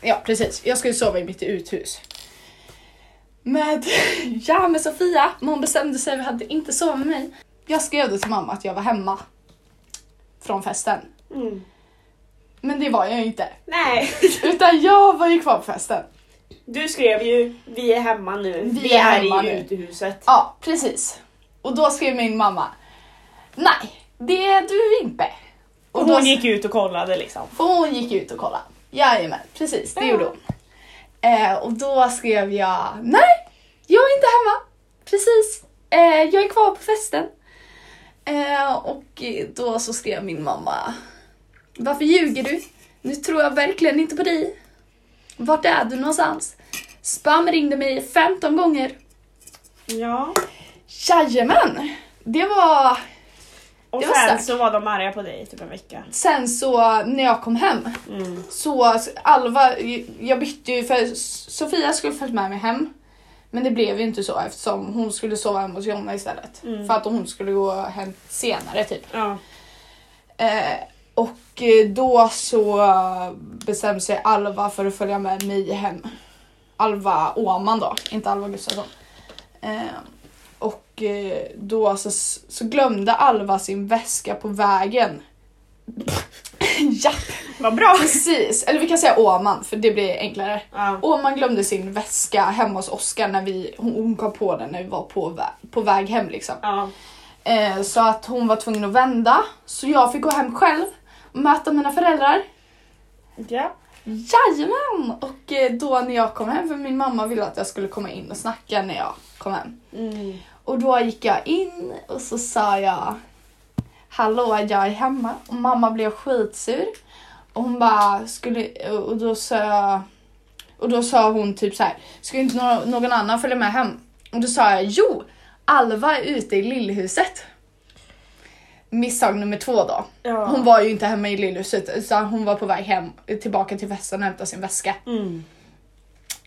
B: ja, precis. Jag skulle sova i mitt uthus. Med, ja, med Sofia, men hon bestämde sig för att inte sova med mig. Jag skrev det till mamma att jag var hemma från festen.
A: Mm.
B: Men det var jag ju inte.
A: Nej.
B: Utan jag var ju kvar på festen.
A: Du skrev ju vi är hemma nu.
B: Vi är hemma
A: i
B: nu.
A: utehuset.
B: Ja, precis. Och då skrev min mamma. Nej, det är du inte.
A: Och
B: då-
A: hon gick ut och kollade liksom.
B: För hon gick ut och kollade. Jajamän, precis det
A: Ja.
B: gjorde hon. Eh, och då skrev jag nej, jag är inte hemma. Precis, eh, jag är kvar på festen. Eh, och då så skrev min mamma varför ljuger du? Nu tror jag verkligen inte på dig. Vart är du någonstans? Spam ringde mig 15 gånger.
A: Ja.
B: Jajamän! Det var
A: Och
B: Det var
A: sen
B: starkt.
A: så var de arga på dig i typ en vecka.
B: sen så när jag kom hem.
A: Mm.
B: Så alltså, Alva, jag bytte ju för Sofia skulle följt med mig hem. Men det blev ju inte så eftersom hon skulle sova hemma hos Jonna istället.
A: Mm.
B: För att hon skulle gå hem senare typ.
A: Ja.
B: Eh, och eh, då så bestämde sig Alva för att följa med mig hem. Alva Åman då, inte Alva Gustafsson. Eh, och eh, då så, så glömde Alva sin väska på vägen. ja,
A: Vad bra.
B: precis. Eller vi kan säga Åman för det blir enklare.
A: Ja.
B: Åman glömde sin väska hemma hos Oskar när vi, hon, hon kom på den när vi var på, vä- på väg hem liksom.
A: Ja.
B: Eh, så att hon var tvungen att vända. Så jag fick gå hem själv och möta mina föräldrar.
A: ja.
B: Jajamän! Och eh, då när jag kom hem, för min mamma ville att jag skulle komma in och snacka när jag kom hem.
A: Mm.
B: Och då gick jag in och så sa jag Hallå, jag är hemma. Och mamma blev skitsur. Och hon bara skulle... Och då sa jag... Och då sa hon typ så här, ska inte nå- någon annan följa med hem? Och då sa jag, jo, Alva är ute i lillhuset. Misstag nummer två då.
A: Ja.
B: Hon var ju inte hemma i lillhuset utan hon var på väg hem, tillbaka till festen och hämtade sin väska.
A: Mm.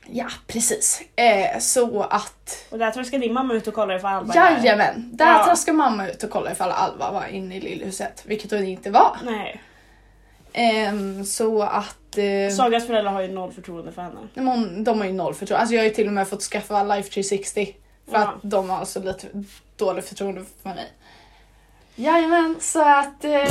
B: Ja, precis. Eh, så att,
A: Och där traskade din mamma ut och kollade för Alva. är där.
B: jajamän. Där
A: Ja.
B: traskade mamma ut och kollade ifall Alva var inne i lillhuset, vilket hon inte var.
A: Nej.
B: Ehm, så att... Eh,
A: Sagas föräldrar har ju noll förtroende för henne.
B: Men hon- de har ju noll förtroende. Alltså jag har ju till och med fått skaffa Life 360 för
A: Ja.
B: att de har så lite dåligt förtroende för mig. Jajamän, så att eh,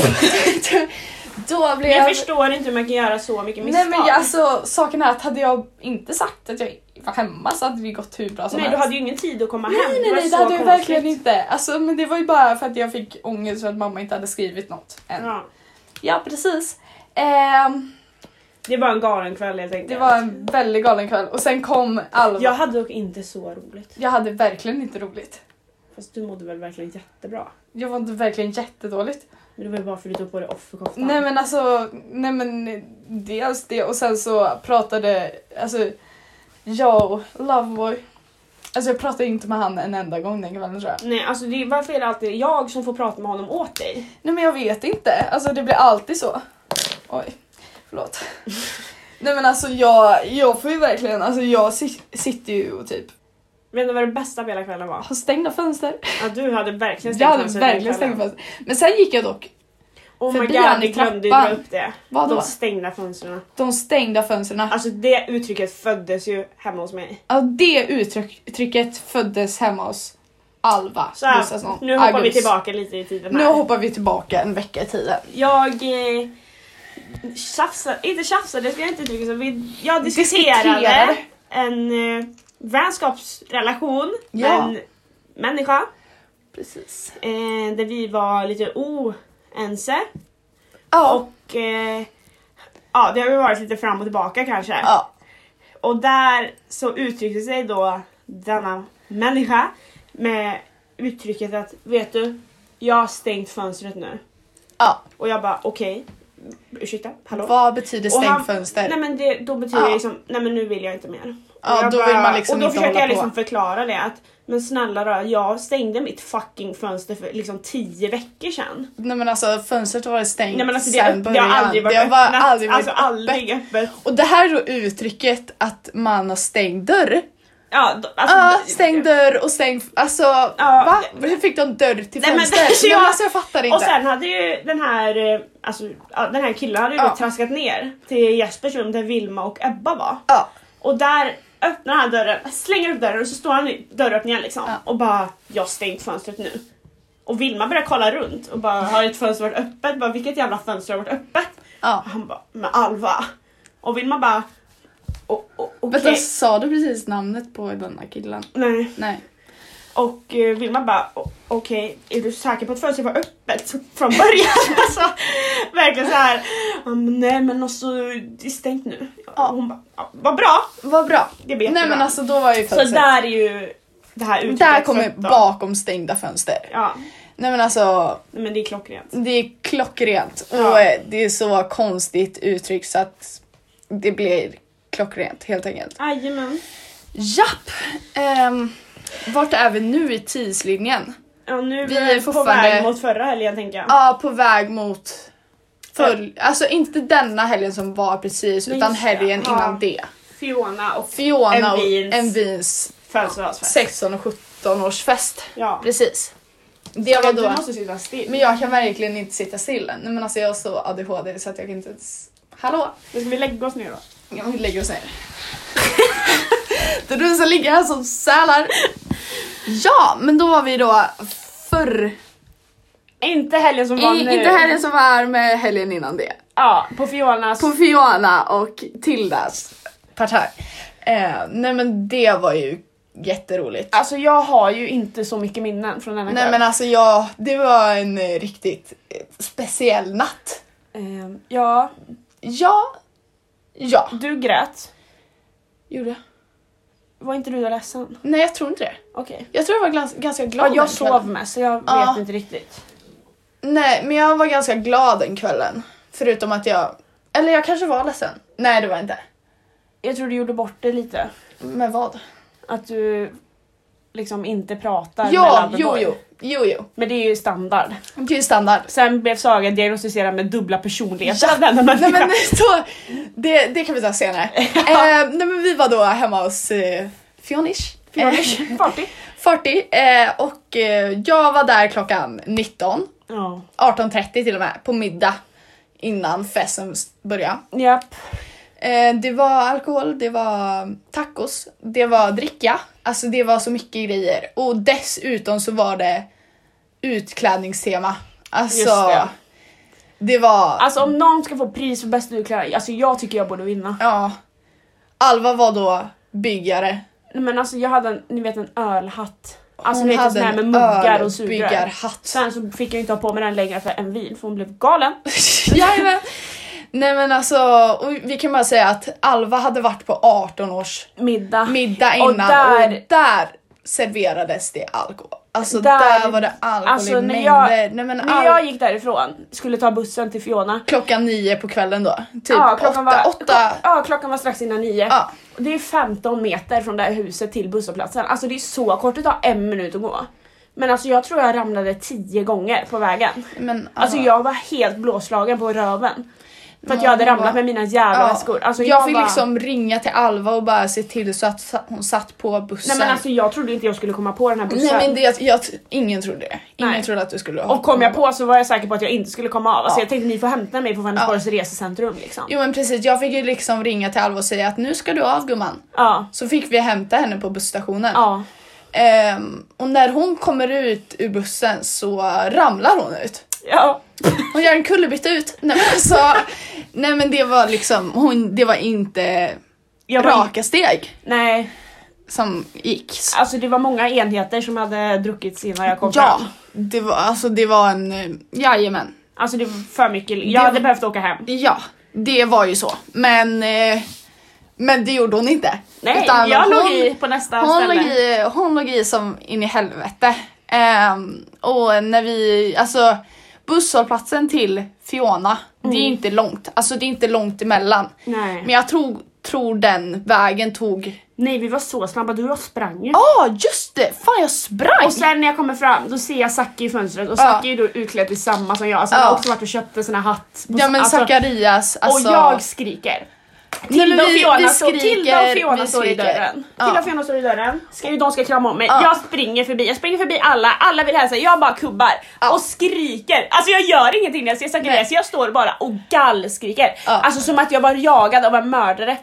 B: då blev
A: Men jag förstår inte hur man kan göra så mycket
B: Nej
A: misstag.
B: men jag, alltså saken är att hade jag inte sagt att jag var hemma så hade det gått hur bra som
A: Nej, du
B: helst.
A: hade ju ingen tid att komma
B: Nej
A: hem.
B: nej
A: var
B: nej det
A: så
B: hade jag
A: konstigt.
B: verkligen inte. Alltså men det var ju bara för att jag fick ångest för att mamma inte hade skrivit något än. Ja,
A: Ja.
B: precis. Ehm,
A: Det var en galen kväll helt enkelt.
B: det var en väldigt galen kväll och sen kom Alva.
A: Jag hade dock inte så roligt.
B: jag hade verkligen inte roligt.
A: Fast du mådde väl verkligen jättebra?
B: Jag mådde verkligen jättedåligt.
A: Men det var ju bara för att du tog på dig offerkoftan.
B: Nej men alltså, nej men dels det och sen så pratade, alltså jag och Loveboy, alltså jag pratade inte med han en enda gång den kvällen tror jag.
A: Nej, alltså det, varför är det alltid jag som får prata med honom åt dig?
B: Nej men jag vet inte, alltså det blir alltid så. Oj, förlåt. nej men alltså jag, jag får ju verkligen, alltså jag si- sitter ju och typ
A: Vet du vad det bästa med hela kvällen var?
B: har stängda fönster.
A: Ja, du hade verkligen
B: Jag hade
A: fönstret den
B: verkligen
A: kvällen.
B: stängt fönster. Men sen gick jag dock,
A: Oh my
B: förbi
A: god,
B: han i
A: jag glömde ju dra
B: trappan.
A: upp det.
B: vadå?
A: De stängda fönstren.
B: De stängda fönstren.
A: Alltså det uttrycket föddes ju hemma hos mig.
B: Ja, det uttrycket föddes hemma hos Alva
A: Så här,
B: Gustafsson.
A: nu hoppar vi
B: August.
A: tillbaka lite i tiden
B: Nu
A: här.
B: hoppar vi tillbaka en vecka i tiden.
A: Jag eh, tjafsade, inte tjafsade det ska jag inte uttrycka så. Vi, jag diskuterade,
B: Diskuterade.
A: en eh, vänskapsrelation med
B: Ja.
A: en människa.
B: Precis.
A: Eh, där vi var lite oense.
B: Ja.
A: Och eh, ja, det har ju varit lite fram och tillbaka kanske.
B: ja.
A: Och där så uttryckte sig då denna människa med uttrycket att vet du, jag har stängt fönstret nu.
B: ja.
A: Och jag bara okej, ursäkta, hallå?
B: Vad betyder
A: Och
B: stängt
A: han-
B: fönster?
A: Nej men det, då betyder
B: Ja.
A: det liksom, nej men nu vill jag inte mer. Och
B: Ja,
A: jag
B: då
A: bara-
B: vill man liksom
A: och då
B: inte
A: försöker
B: hålla
A: jag
B: på.
A: liksom förklara det att men snälla röra, jag stängde mitt fucking fönster för liksom tio veckor sedan.
B: Nej men alltså fönstret har varit stängt
A: Nej men alltså det,
B: sen
A: det har aldrig varit
B: det har bara
A: öppnat.
B: aldrig varit
A: alltså aldrig öppet.
B: Och det här är då uttrycket att man har stängd dörr.
A: Ja, d- alltså,
B: Ja,
A: d-
B: stängd dörr och stängd... Alltså va? Hur fick de dörr till
A: Nej, men-
B: fönster? Nej, men,
A: jag-
B: alltså jag fattar inte.
A: Och sen hade ju den här, eh, alltså, ja, den här killen hade ju
B: Ja.
A: då traskat ner till Jespers rum där Vilma och Ebba var.
B: Ja.
A: Och där öppnar han dörren, slänger upp dörren och så står han i dörröppningen liksom och bara jag har stängt fönstret nu. Och Vilma börjar kolla runt och bara har ett fönster varit öppet? Bara, Vilket jävla fönster har varit öppet?
B: Ja.
A: Och han bara men Alva. Och Vilma bara "O- o- okej.
B: Vänta, sa du precis namnet på den här killen?
A: Nej.
B: Nej.
A: Och eh, Vilma bara "O- okej, är du säker på att fönstret var öppet från början? alltså, verkligen så här. "Ja, men nej men alltså det är stängt nu.
B: Ja.
A: Hon bara, "Ja, vad bra.
B: Vad bra.
A: Det blir
B: Nej
A: jättebra.
B: men alltså då var ju
A: Så
B: fönstret...
A: där är ju det här uttrycket.
B: där kommer
A: fött då.
B: bakom stängda fönster.
A: Ja,
B: Nej men alltså
A: nej, men det är klockrent.
B: Det är klockrent och
A: Ja.
B: eh, det är så konstigt uttryck så att det blir klockrent helt enkelt.
A: Jajamän.
B: Japp! Um, vart är vi nu i tidslinjen?
A: Ja, nu är
B: Vi
A: vi
B: är
A: på
B: fortfarande-
A: väg mot förra helgen tänker jag.
B: Ja, på väg mot full... Alltså inte denna helgen som var precis
A: Nej,
B: utan
A: just det.
B: helgen
A: Ja.
B: innan det.
A: Fiona och
B: Fiona och
A: Envins.
B: Envins
A: födelsedagsfest.
B: 16 och 17 årsfest.
A: Ja.
B: Precis. Det var
A: Du
B: då.
A: måste sitta still.
B: Men jag kan verkligen inte sitta still än. Nej, men alltså jag har så ADHD så att jag kan inte ens... Hallå?
A: Men Ska vi lägga oss nu då?
B: Ja, vi lägger oss ner. det är du som ligger här som sälar. Ja, men då var vi då förr.
A: Inte helgen som var
B: I,
A: nu.
B: inte helgen som var med helgen innan det.
A: Ja, på Fionas.
B: På Fiona och Tildas partaj. Eh, nej men det var ju jätteroligt.
A: Alltså jag har ju inte så mycket minnen från denna
B: Nej men alltså jag, det var en eh, riktigt eh, speciell natt.
A: Ehm, ja,
B: Ja. Ja.
A: du grät.
B: Gjorde jag?
A: Var inte du ledsen?
B: Nej jag tror inte det.
A: Okej.
B: Jag tror jag var glans- ganska glad
A: Ja,
B: den
A: jag
B: kvällen.
A: sov med så jag
B: Ja.
A: vet inte riktigt.
B: Nej, men jag var ganska glad den kvällen. Förutom att jag... Eller jag kanske var ledsen. Nej, det var jag inte.
A: Jag tror du gjorde bort det lite.
B: Men vad?
A: Att du liksom inte pratar med
B: Ja, jo,
A: Loverboy.
B: jo. Jo, jo.
A: Men det är ju standard.
B: Det är ju standard.
A: Sen blev Saga diagnostiserad med dubbla personligheter.
B: Ja.
A: av denna
B: Nej,
A: människa.
B: men så, det, det kan vi ta senare. eh, nej, men vi var då hemma hos eh, Fionish. Eh,
A: Fionish, party.
B: 40. Eh, och eh, jag var där klockan 19.
A: Ja.
B: 18.30 till och med, på middag. Innan festen började.
A: Japp.
B: Eh, det var alkohol, det var tacos, det var dricka. Alltså det var så mycket grejer. Och dessutom så var det utklädningstema. Alltså,
A: Just det.
B: det. var...
A: Alltså om någon ska få pris för bästa utklädnad, alltså jag tycker jag borde vinna.
B: ja. Alva var då byggare.
A: Nej, Men alltså jag hade en, ni vet en ölhatt. Alltså
B: Hon
A: ni vet en
B: hade
A: sån här med
B: en
A: muggar och sugrör.
B: ölbyggarhatt.
A: Sen så fick jag inte ha på mig den längre för en vin för hon blev galen.
B: Jajamän. Nej men alltså, och vi kan bara säga att Alva hade varit på 18 års
A: Middag.
B: middag innan
A: Och
B: och där,
A: där-
B: serverades det alkohol. Alltså där,
A: Där-
B: var det alkohol
A: Alltså,
B: i
A: när
B: mängder.
A: jag-
B: Nej, men
A: När
B: all...
A: jag gick därifrån, skulle ta bussen till Fiona.
B: Klockan nio på kvällen då. Typ
A: Ja,
B: åtta.
A: klockan var,
B: åtta.
A: Ja, klockan var strax innan nio.
B: Ja.
A: Och Det är 15 meter från det här huset till busshållplatsen. Alltså det är så kort, det tar en minut att gå. Men alltså jag tror jag ramlade tio gånger på vägen.
B: Men,
A: Alltså
B: Mm. ja.
A: jag var helt blåslagen på röven. För att
B: Ja,
A: jag hade
B: det
A: ramlat
B: var-
A: med mina jävla
B: Ja.
A: väskor. Alltså
B: jag fick
A: bara-
B: liksom ringa till Alva och bara se till så att sa- hon satt på bussen.
A: Nej men alltså jag trodde inte jag skulle komma på den här bussen.
B: Nej, men det, jag, ingen trodde det. Ingen
A: Nej.
B: trodde att du skulle
A: Och kom jag på så var jag säker på att jag inte skulle komma av. Alltså jag tänkte ni får hämta mig på Vänersborgs resecentrum liksom.
B: Jo men precis, jag fick ju liksom ringa till Alva och säga att nu ska du av gumman.
A: Ja.
B: Så fick vi hämta henne på busstationen.
A: Ja.
B: Ehm, och när hon kommer ut ur bussen så ramlar hon ut.
A: Ja.
B: Hon gör en kullerbytta ut. Nej men, alltså, nej, men det var liksom, hon, det var inte
A: Jag var
B: raka steg
A: Nej,
B: som gick.
A: alltså det var många enheter som hade druckits innan jag kom
B: Ja,
A: fram.
B: det var, alltså, det var en, eh, jajamän.
A: Alltså det var för mycket. Jag
B: Det-
A: hade behövt åka hem.
B: Ja, det var ju så. Men, eh, men det gjorde hon inte.
A: Nej,
B: Utan
A: jag
B: hon-
A: låg i på nästa
B: hon
A: ställe.
B: låg, i, hon låg i som in i helvete. Ehm, och när vi, alltså busshållplatsen till Fiona, det
A: Mm.
B: är inte långt. Alltså det är inte långt emellan.
A: Nej.
B: Men jag tror, tror den vägen tog
A: Nej vi var så snabba, du och jag sprang ju.
B: Ja, just det! Fan jag sprang!
A: Och sen när jag kommer fram då ser jag Zacke i fönstret och
B: Ja.
A: Zacke är ju då utklädd i samma som jag. Alltså, Han har
B: Ja.
A: också varit och köpt en sån här hatt. på-
B: ja men
A: alltså,
B: Zacharias, alltså.
A: Och jag skriker.
B: Nej, men
A: Tilda och
B: vi-
A: Fiona,
B: vi
A: står- Tilda
B: skriker,
A: och Fiona
B: vi
A: står i
B: skriker.
A: dörren.
B: Ja.
A: Tilda och Fiona står i dörren. Ska ju, de ska krama om mig.
B: Ja.
A: Jag springer förbi, jag springer förbi alla. Alla vill hälsa, jag bara kubbar och skriker. Alltså jag gör ingenting när jag ser Zacharias, jag står bara och gallskriker.
B: Ja.
A: Alltså som att jag var jagad av en mördare.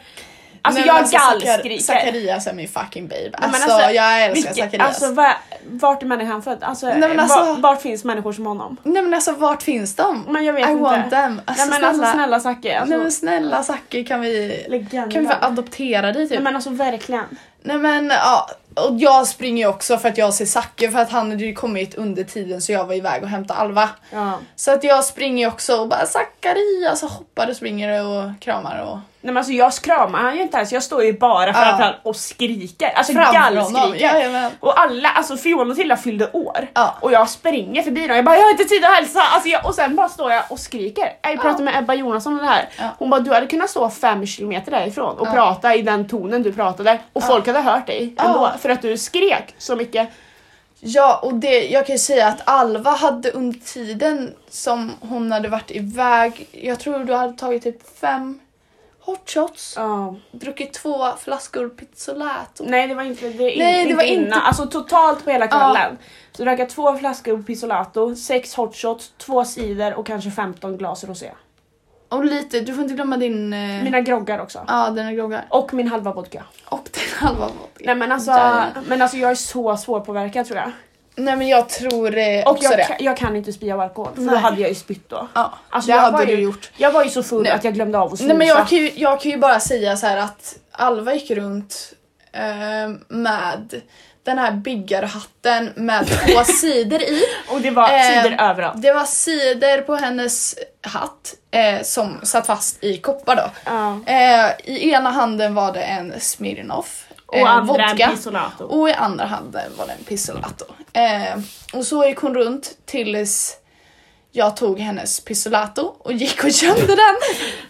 A: Alltså
B: Nej,
A: jag
B: men Zachar-
A: gallskriker.
B: Zacharias är min fucking babe.
A: Nej, men
B: Alltså, jag älskar
A: vilket-
B: Zacharias.
A: Alltså va, vart är människan född? Alltså,
B: Nej, men
A: var,
B: alltså-
A: vart finns människor som honom?
B: Nej men alltså vart finns de?
A: Men jag vet
B: I
A: inte.
B: want them. Alltså,
A: Nej men
B: snälla.
A: alltså snälla Zacke. Alltså,
B: Nej men snälla Zacke kan vi,
A: Legenden.
B: kan vi få adoptera dig typ?
A: Nej men alltså verkligen.
B: Nej men ja, och jag springer ju också för att jag ser Zacke för att han hade ju kommit under tiden så jag var iväg och hämtade Alva.
A: Ja.
B: Så att jag springer ju också och bara Zacharias och hoppar och springer och kramar och
A: Nej men alltså jag kramar han ju inte ens, jag står ju bara framför honom och skriker. Alltså
B: framför honom.
A: gallskriker.
B: Jajamän.
A: Och alla, alltså Fiona och Tilda fyllde år
B: Ja.
A: och jag springer förbi dem, jag bara jag har inte tid att hälsa! Alltså jag, och sen bara står jag och skriker. Jag pratade med Ebba Jonasson om det här,
B: Ja.
A: hon bara du hade kunnat stå fem kilometer därifrån och prata i den tonen du pratade och folk hade hört dig ändå
B: Ja.
A: för att du skrek så mycket.
B: Ja, och det, jag kan ju säga att Alva hade under tiden som hon hade varit iväg, jag tror du hade tagit typ fem hot shots,
A: Ja.
B: druckit två flaskor pizzolato.
A: Nej det var inte, det, är
B: Nej,
A: inte
B: det var
A: innan,
B: inte-
A: alltså totalt på hela kvällen. Så drack jag två flaskor pizzolato, sex hot shots, två cider och kanske 15 glas rosé.
B: Mm. Och lite, du får inte glömma din... eh,
A: Mina groggar också.
B: Ja, dina groggar.
A: Och min halva vodka.
B: Och din halva vodka.
A: Nej men alltså,
B: Där.
A: men alltså jag är så svårpåverkad tror jag.
B: Nej men jag tror eh,
A: Och
B: också
A: jag,
B: det.
A: ka- jag kan inte spy av alkohol för då
B: Nej.
A: hade jag ju spytt då.
B: Ja,
A: Alltså,
B: det
A: jag
B: hade
A: var
B: du
A: ju-
B: gjort.
A: Jag var ju så full
B: Nej.
A: att jag glömde av att snusa.
B: Nej men jag kan, ju, jag kan ju bara säga så här att Alva gick runt eh, med den här byggarhatten med två sidor i.
A: Och det var
B: Eh,
A: cider överallt.
B: Det var sidor på hennes hatt eh, som satt fast i koppar då.
A: Ja.
B: Eh, I ena handen var det en Smirnoff. eh,
A: Och andra en Pizzolato.
B: Och i andra handen var det en Pizzolato. Eh, och så gick hon runt tills jag tog hennes Pizzolato och gick och gömde den.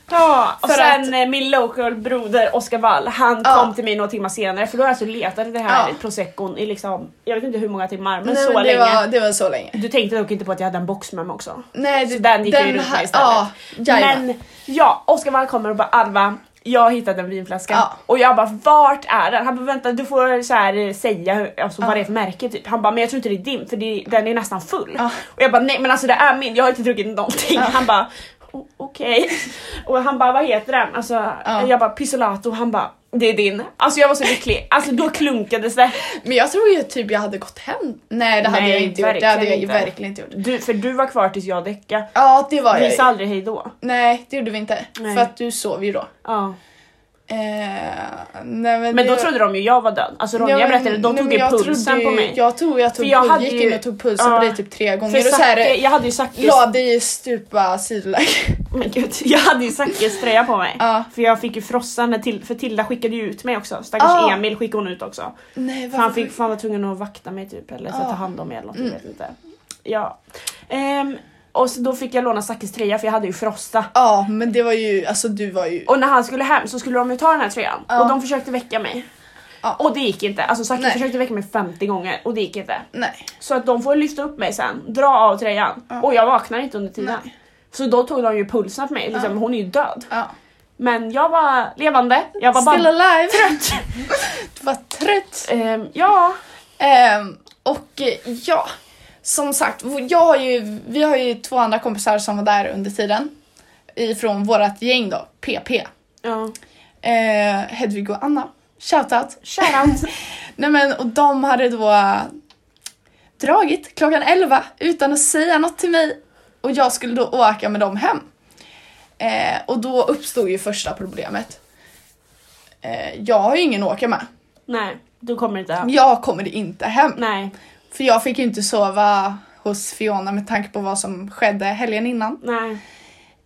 A: Ja, och
B: För
A: sen
B: att-
A: eh, min local broder Oskar Wall, han
B: Ja.
A: kom till mig några timmar senare för då har jag alltså letat i det här
B: Ja.
A: proseccon i liksom, jag vet inte hur många timmar men
B: Nej,
A: så
B: men det,
A: länge.
B: var, det var så länge.
A: Du tänkte dock inte på att jag hade en box med mig också.
B: Nej,
A: Så
B: det-
A: den gick ju runt
B: ha-
A: mig istället.
B: Ja, men...
A: Men ja, Oskar Wall kommer och bara Alva, jag har hittat en vinflaska.
B: Ja.
A: Och jag bara vart är den? Han bara vänta du får så här, eh, säga hur, alltså,
B: Ja.
A: vad det är för märke typ. Han bara men jag tror inte det är din för det, den är nästan full.
B: Ja.
A: Och jag bara nej men alltså det är min, jag har inte druckit någonting. Han bara "O- okej. Och han bara vad heter den? Alltså,
B: Ja.
A: Jag bara pizzolato, han bara det är din. Alltså jag var så lycklig. Alltså då klunkades det.
B: men jag tror ju typ jag hade gått hem. Nej det hade
A: Nej,
B: jag inte gjort. Det hade jag ju
A: verkligen inte.
B: verkligen inte gjort.
A: Du, för du var kvar tills jag däckade.
B: Ja det var
A: Vi
B: jag ju.
A: sa aldrig hejdå.
B: Nej, det gjorde vi inte.
A: Nej.
B: För att du sov ju då.
A: Ja.
B: Eh, nej, men
A: Men
B: det-
A: då trodde de ju jag var död. Alltså
B: Ja,
A: Ronja
B: men-
A: berättade, de
B: nej,
A: tog
B: men
A: ju
B: jag
A: pulsen
B: trodde
A: på
B: ju-
A: mig.
B: Jag tog, jag tog,
A: För jag
B: jag
A: hade
B: gick
A: ju-
B: in och tog pulsen
A: ja.
B: på dig typ tre
A: För
B: gånger och så
A: Zacke,
B: här, eh,
A: jag hade ju Zackes
B: la dig i stupa sidoläge.
A: men gud, jag hade ju Zackes tröja på mig.
B: Ja.
A: För jag fick ju frossa när till, för Tilda skickade ju ut mig också. Stackars
B: Ja.
A: Emil skickade hon ut också.
B: Nej,
A: För han,
B: varför-
A: fick, för han var tvungen att vakta mig typ eller så
B: Ja. Mm.
A: ta hand om mig eller något, jag vet inte. Ja. Ehm, och så då fick jag låna Zackes tröja för jag hade ju frossa.
B: Ja, men det var ju, alltså du var ju...
A: Och när han skulle hem så skulle de ju ta den här tröjan
B: Ja.
A: och de försökte väcka mig.
B: Ja.
A: Och det gick inte. Alltså Zacke
B: Nej.
A: försökte väcka mig 50 gånger och det gick inte.
B: Nej.
A: Så att de får lyfta upp mig sen, dra av tröjan och jag vaknar inte under tiden. Så då tog de ju pulsen på mig, liksom, hon är ju död.
B: Ja.
A: Men jag var levande, jag var
B: Still
A: bara...
B: alive! Trött! du var trött.
A: Ehm, ja,
B: Ehm, och eh, ja, som sagt, jag har ju, vi har ju två andra kompisar som var där under tiden. Ifrån vårat gäng då, PP.
A: ja.
B: eh, Hedvig och Anna. Shoutout!
A: Shoutout!
B: Nej men och de hade då dragit klockan 11 utan att säga något till mig och jag skulle då åka med dem hem. Eh, och då uppstod ju första problemet. Eh, jag har ju ingen att åka med.
A: Nej, du kommer inte hem.
B: Jag kommer inte hem.
A: Nej,
B: För jag fick ju inte sova hos Fiona med tanke på vad som skedde helgen innan.
A: nej.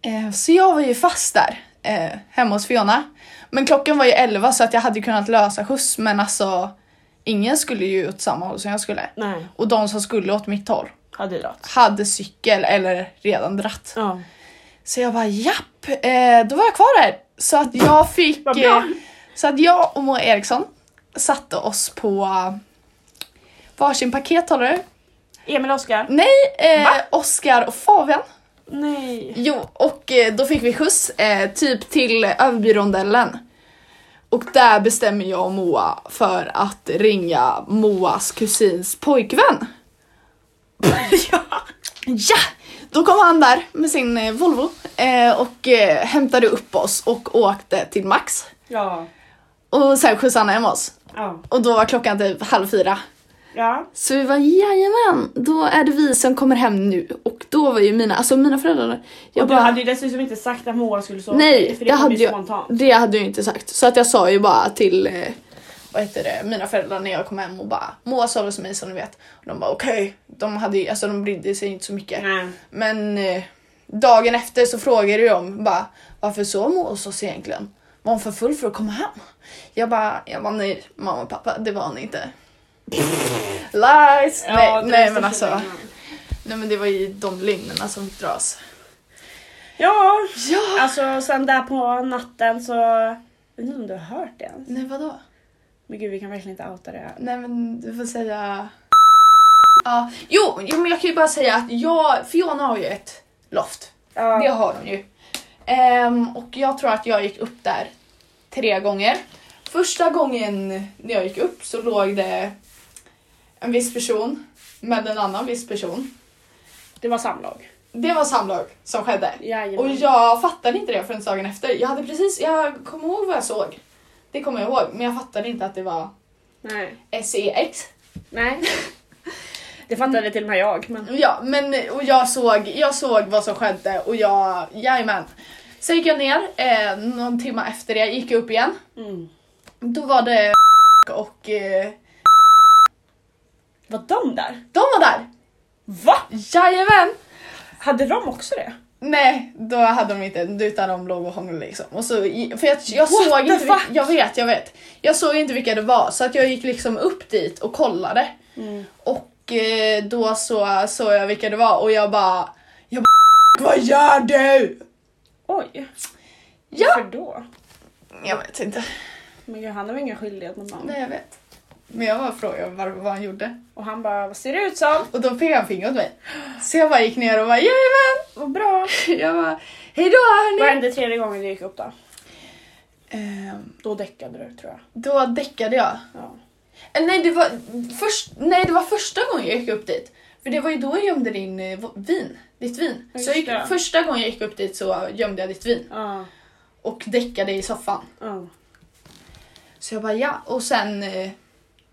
B: Eh, Så jag var ju fast där eh, hemma hos Fiona. Men klockan var ju 11 så att jag hade ju kunnat lösa skjuts men alltså ingen skulle ju åt samma håll som jag skulle.
A: Nej,
B: Och de som skulle åt mitt håll
A: hade dratt.
B: hade cykel eller redan dratt.
A: Ja.
B: Så jag bara japp, eh, då var jag kvar där. Så att jag fick...
A: Vad bra.
B: eh, Så att jag och Moa Eriksson satte oss på varsin pakethållare.
A: Emil och Oskar?
B: Nej, eh,
A: Va?
B: Oscar och Fabian.
A: Nej.
B: Jo, och eh, då fick vi skjuts eh, typ till Överbyrondellen. Och där bestämmer jag och Moa för att ringa Moas kusins pojkvän.
A: ja.
B: Ja! Då kom han där med sin eh, Volvo eh, och eh, hämtade upp oss och åkte till Max.
A: Ja.
B: Och sen skjutsade han hem oss.
A: Ja.
B: Och då var klockan typ halv fyra.
A: Ja.
B: Så vi var jajamän, då är det vi som kommer hem nu. Och då var ju mina, alltså mina föräldrar, jag
A: Och du hade ju dessutom inte sagt att Moa skulle sova
B: Nej,
A: för
B: det
A: det kom
B: hade,
A: ju
B: jag,
A: spontant.
B: det hade jag inte sagt. Så att jag sa ju bara till eh, vad heter det, mina föräldrar när jag kom hem och bara Moa sover hos mig som ni vet. Och de bara okej, de, hade ju- alltså, de brydde sig inte så mycket.
A: Nej.
B: Men eh, dagen efter så frågade de bara varför sov Moa hos oss egentligen? Var hon för full för att komma hem? Jag bara, jag bara nej mamma och pappa det var hon inte. Lies!
A: Ja,
B: nej,
A: det
B: nej
A: var
B: men
A: så
B: alltså.
A: fint.
B: Nej men det var ju de lögnerna som fick dras.
A: Ja,
B: Ja!
A: alltså sen där på natten så... Jag vet inte om du har hört det ens.
B: Nej vadå?
A: Men gud vi kan verkligen inte outa det här.
B: Nej men du får säga... Ja, jo, jo men jag kan ju bara säga att jag, Fiona har ju ett loft.
A: Ja.
B: Det har hon ju. Ehm, och jag tror att jag gick upp där tre gånger. Första gången när jag gick upp så låg det en viss person med en annan viss person.
A: Det var samlag.
B: Det var samlag som skedde.
A: Jajamän.
B: Och jag fattade inte det förrän dagen efter. Jag hade precis, jag kommer ihåg vad jag såg. Det kommer jag ihåg, men jag fattade inte att det var E
A: Nej.
B: SEX.
A: Nej. Det fattade till och med jag. Men...
B: Ja, men och jag såg, jag såg vad som skedde och jag, jajamän. Sen gick jag ner eh, någon timme efter det, gick jag upp igen.
A: Mm.
B: Då var det och eh,
A: Var de där?
B: de var där!
A: Va?
B: Jajamän!
A: Hade de också det?
B: Nej, då hade de inte, utan de låg och hånglade liksom. Och så, för jag, jag
A: What
B: såg
A: the
B: inte, vil-
A: fuck?
B: jag vet, jag vet. Jag såg inte vilka det var så att jag gick liksom upp dit och kollade.
A: Mm.
B: Och eh, då så såg jag vilka det var och jag bara, jag bara vad gör du?
A: Oj,
B: Ja,
A: varför då?
B: jag vet inte.
A: Men gud, han har väl ingen skyldighet mot någon?
B: Nej jag vet. Men jag bara frågade vad, vad han gjorde.
A: Och han bara, vad ser det ut som?
B: Och då pekade han fingret åt mig. Så jag bara gick ner och bara jajamän!
A: Vad bra!
B: Jag bara hejdå
A: Vad
B: hörni!
A: hände tredje gången du gick upp då?
B: Ehm,
A: Då däckade du tror jag.
B: då däckade jag.
A: Ja.
B: Eller nej det, var först, nej det var första gången jag gick upp dit. För det var ju då jag gömde din eh, v- vin. Ditt vin.
A: Ja,
B: Så jag gick,
A: just det.
B: första gången jag gick upp dit så gömde jag ditt vin.
A: Ja.
B: Och däckade i soffan.
A: Ja.
B: Så jag bara ja. Och sen eh,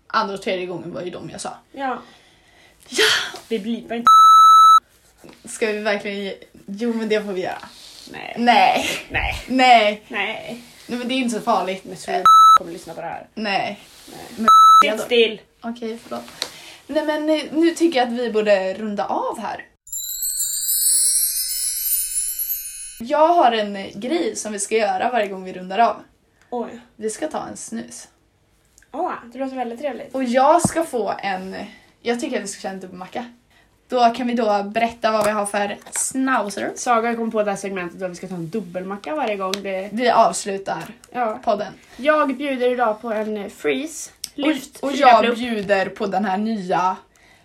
B: andra och tredje gången var ju de jag sa.
A: ja.
B: Ja!
A: Vi blipar inte.
B: Ska vi verkligen ge... Jo men det får vi göra.
A: Nej.
B: Nej.
A: Nej.
B: Nej.
A: Nej.
B: Nej men det är inte så farligt. Eh,
A: Men så kommer lyssna på det här.
B: Nej. Ja då.
A: Sitt still!
B: Okej, förlåt. Nej men eh, nu tycker jag att vi borde runda av här. Jag har en eh, grej som vi ska göra varje gång vi rundar av.
A: Oj.
B: Vi ska ta en snus.
A: Åh, det låter väldigt trevligt.
B: Och jag ska få en... eh, Jag tycker att vi ska köra en dubbelmacka. Då kan vi då berätta vad vi har för snauser.
A: Saga kom på det här segmentet där vi ska ta en dubbelmacka varje gång. Det...
B: Vi avslutar
A: Ja.
B: podden.
A: Jag bjuder idag på en eh, freeze. Lyft.
B: Och, och
A: fyra
B: jag
A: plupp.
B: bjuder på den här nya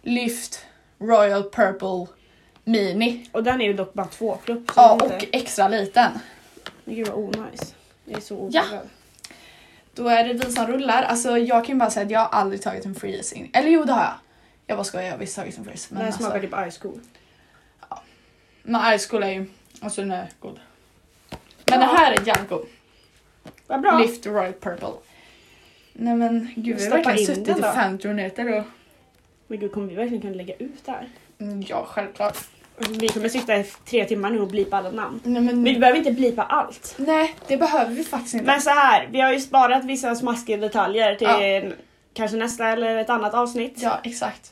B: Lyft Royal Purple Mini.
A: och den är ju dock bara två plupp. så
B: Ja,
A: det är inte-
B: och extra liten.
A: Men gud vad onajs. Det är så
B: Ja.
A: obehagligt.
B: Då är det vi som rullar. Alltså jag kan ju bara säga att jag har aldrig tagit en freezing. Eller jo det har jag. Jag bara skojar, jag har visst tagit en freeze.
A: Den
B: Men
A: här
B: alltså,
A: smakar typ ice cool.
B: men ice cool är ju, alltså den är god. Men den här är jävligt god.
A: Vad bra.
B: Lyft Royal Purple. Nej men gud vi har
A: Stoppa in
B: verkligen
A: den
B: suttit i
A: då.
B: 50 minuter och...
A: Men gud, kommer vi verkligen kunna lägga ut det här?
B: Mm, Ja självklart.
A: Alltså, vi kommer sitta i tre timmar nu och blipa alla namn.
B: Nej men...
A: Men vi behöver inte blipa allt.
B: Nej det behöver vi faktiskt inte.
A: Men så här, vi har ju sparat vissa smaskiga detaljer till
B: Ja.
A: en- kanske nästa eller ett annat avsnitt.
B: Ja exakt.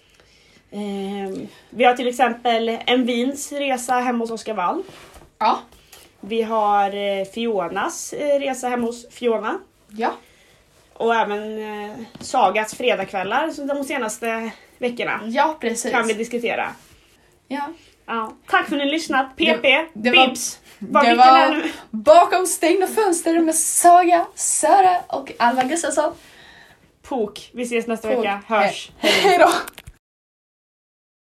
A: Ehm, vi har till exempel en vins resa hemma hos Oskar Wall.
B: Ja.
A: Vi har eh, Fionas eh, resa hemma hos Fiona.
B: Ja.
A: Och även eh, Sagas fredagskvällar så de senaste veckorna
B: Ja Mm, precis.
A: kan vi diskutera.
B: Ja.
A: Ja. Tack för att ni har lyssnat. PP,
B: det var-
A: Bibs. Vad
B: det
A: vilken
B: var-
A: är nu?
B: Bakom stängda fönster med Saga, Sara och Alva Gustafsson.
A: Pok. Vi ses nästa
B: Pok.
A: vecka. Hörs.
B: Eh, Hej då!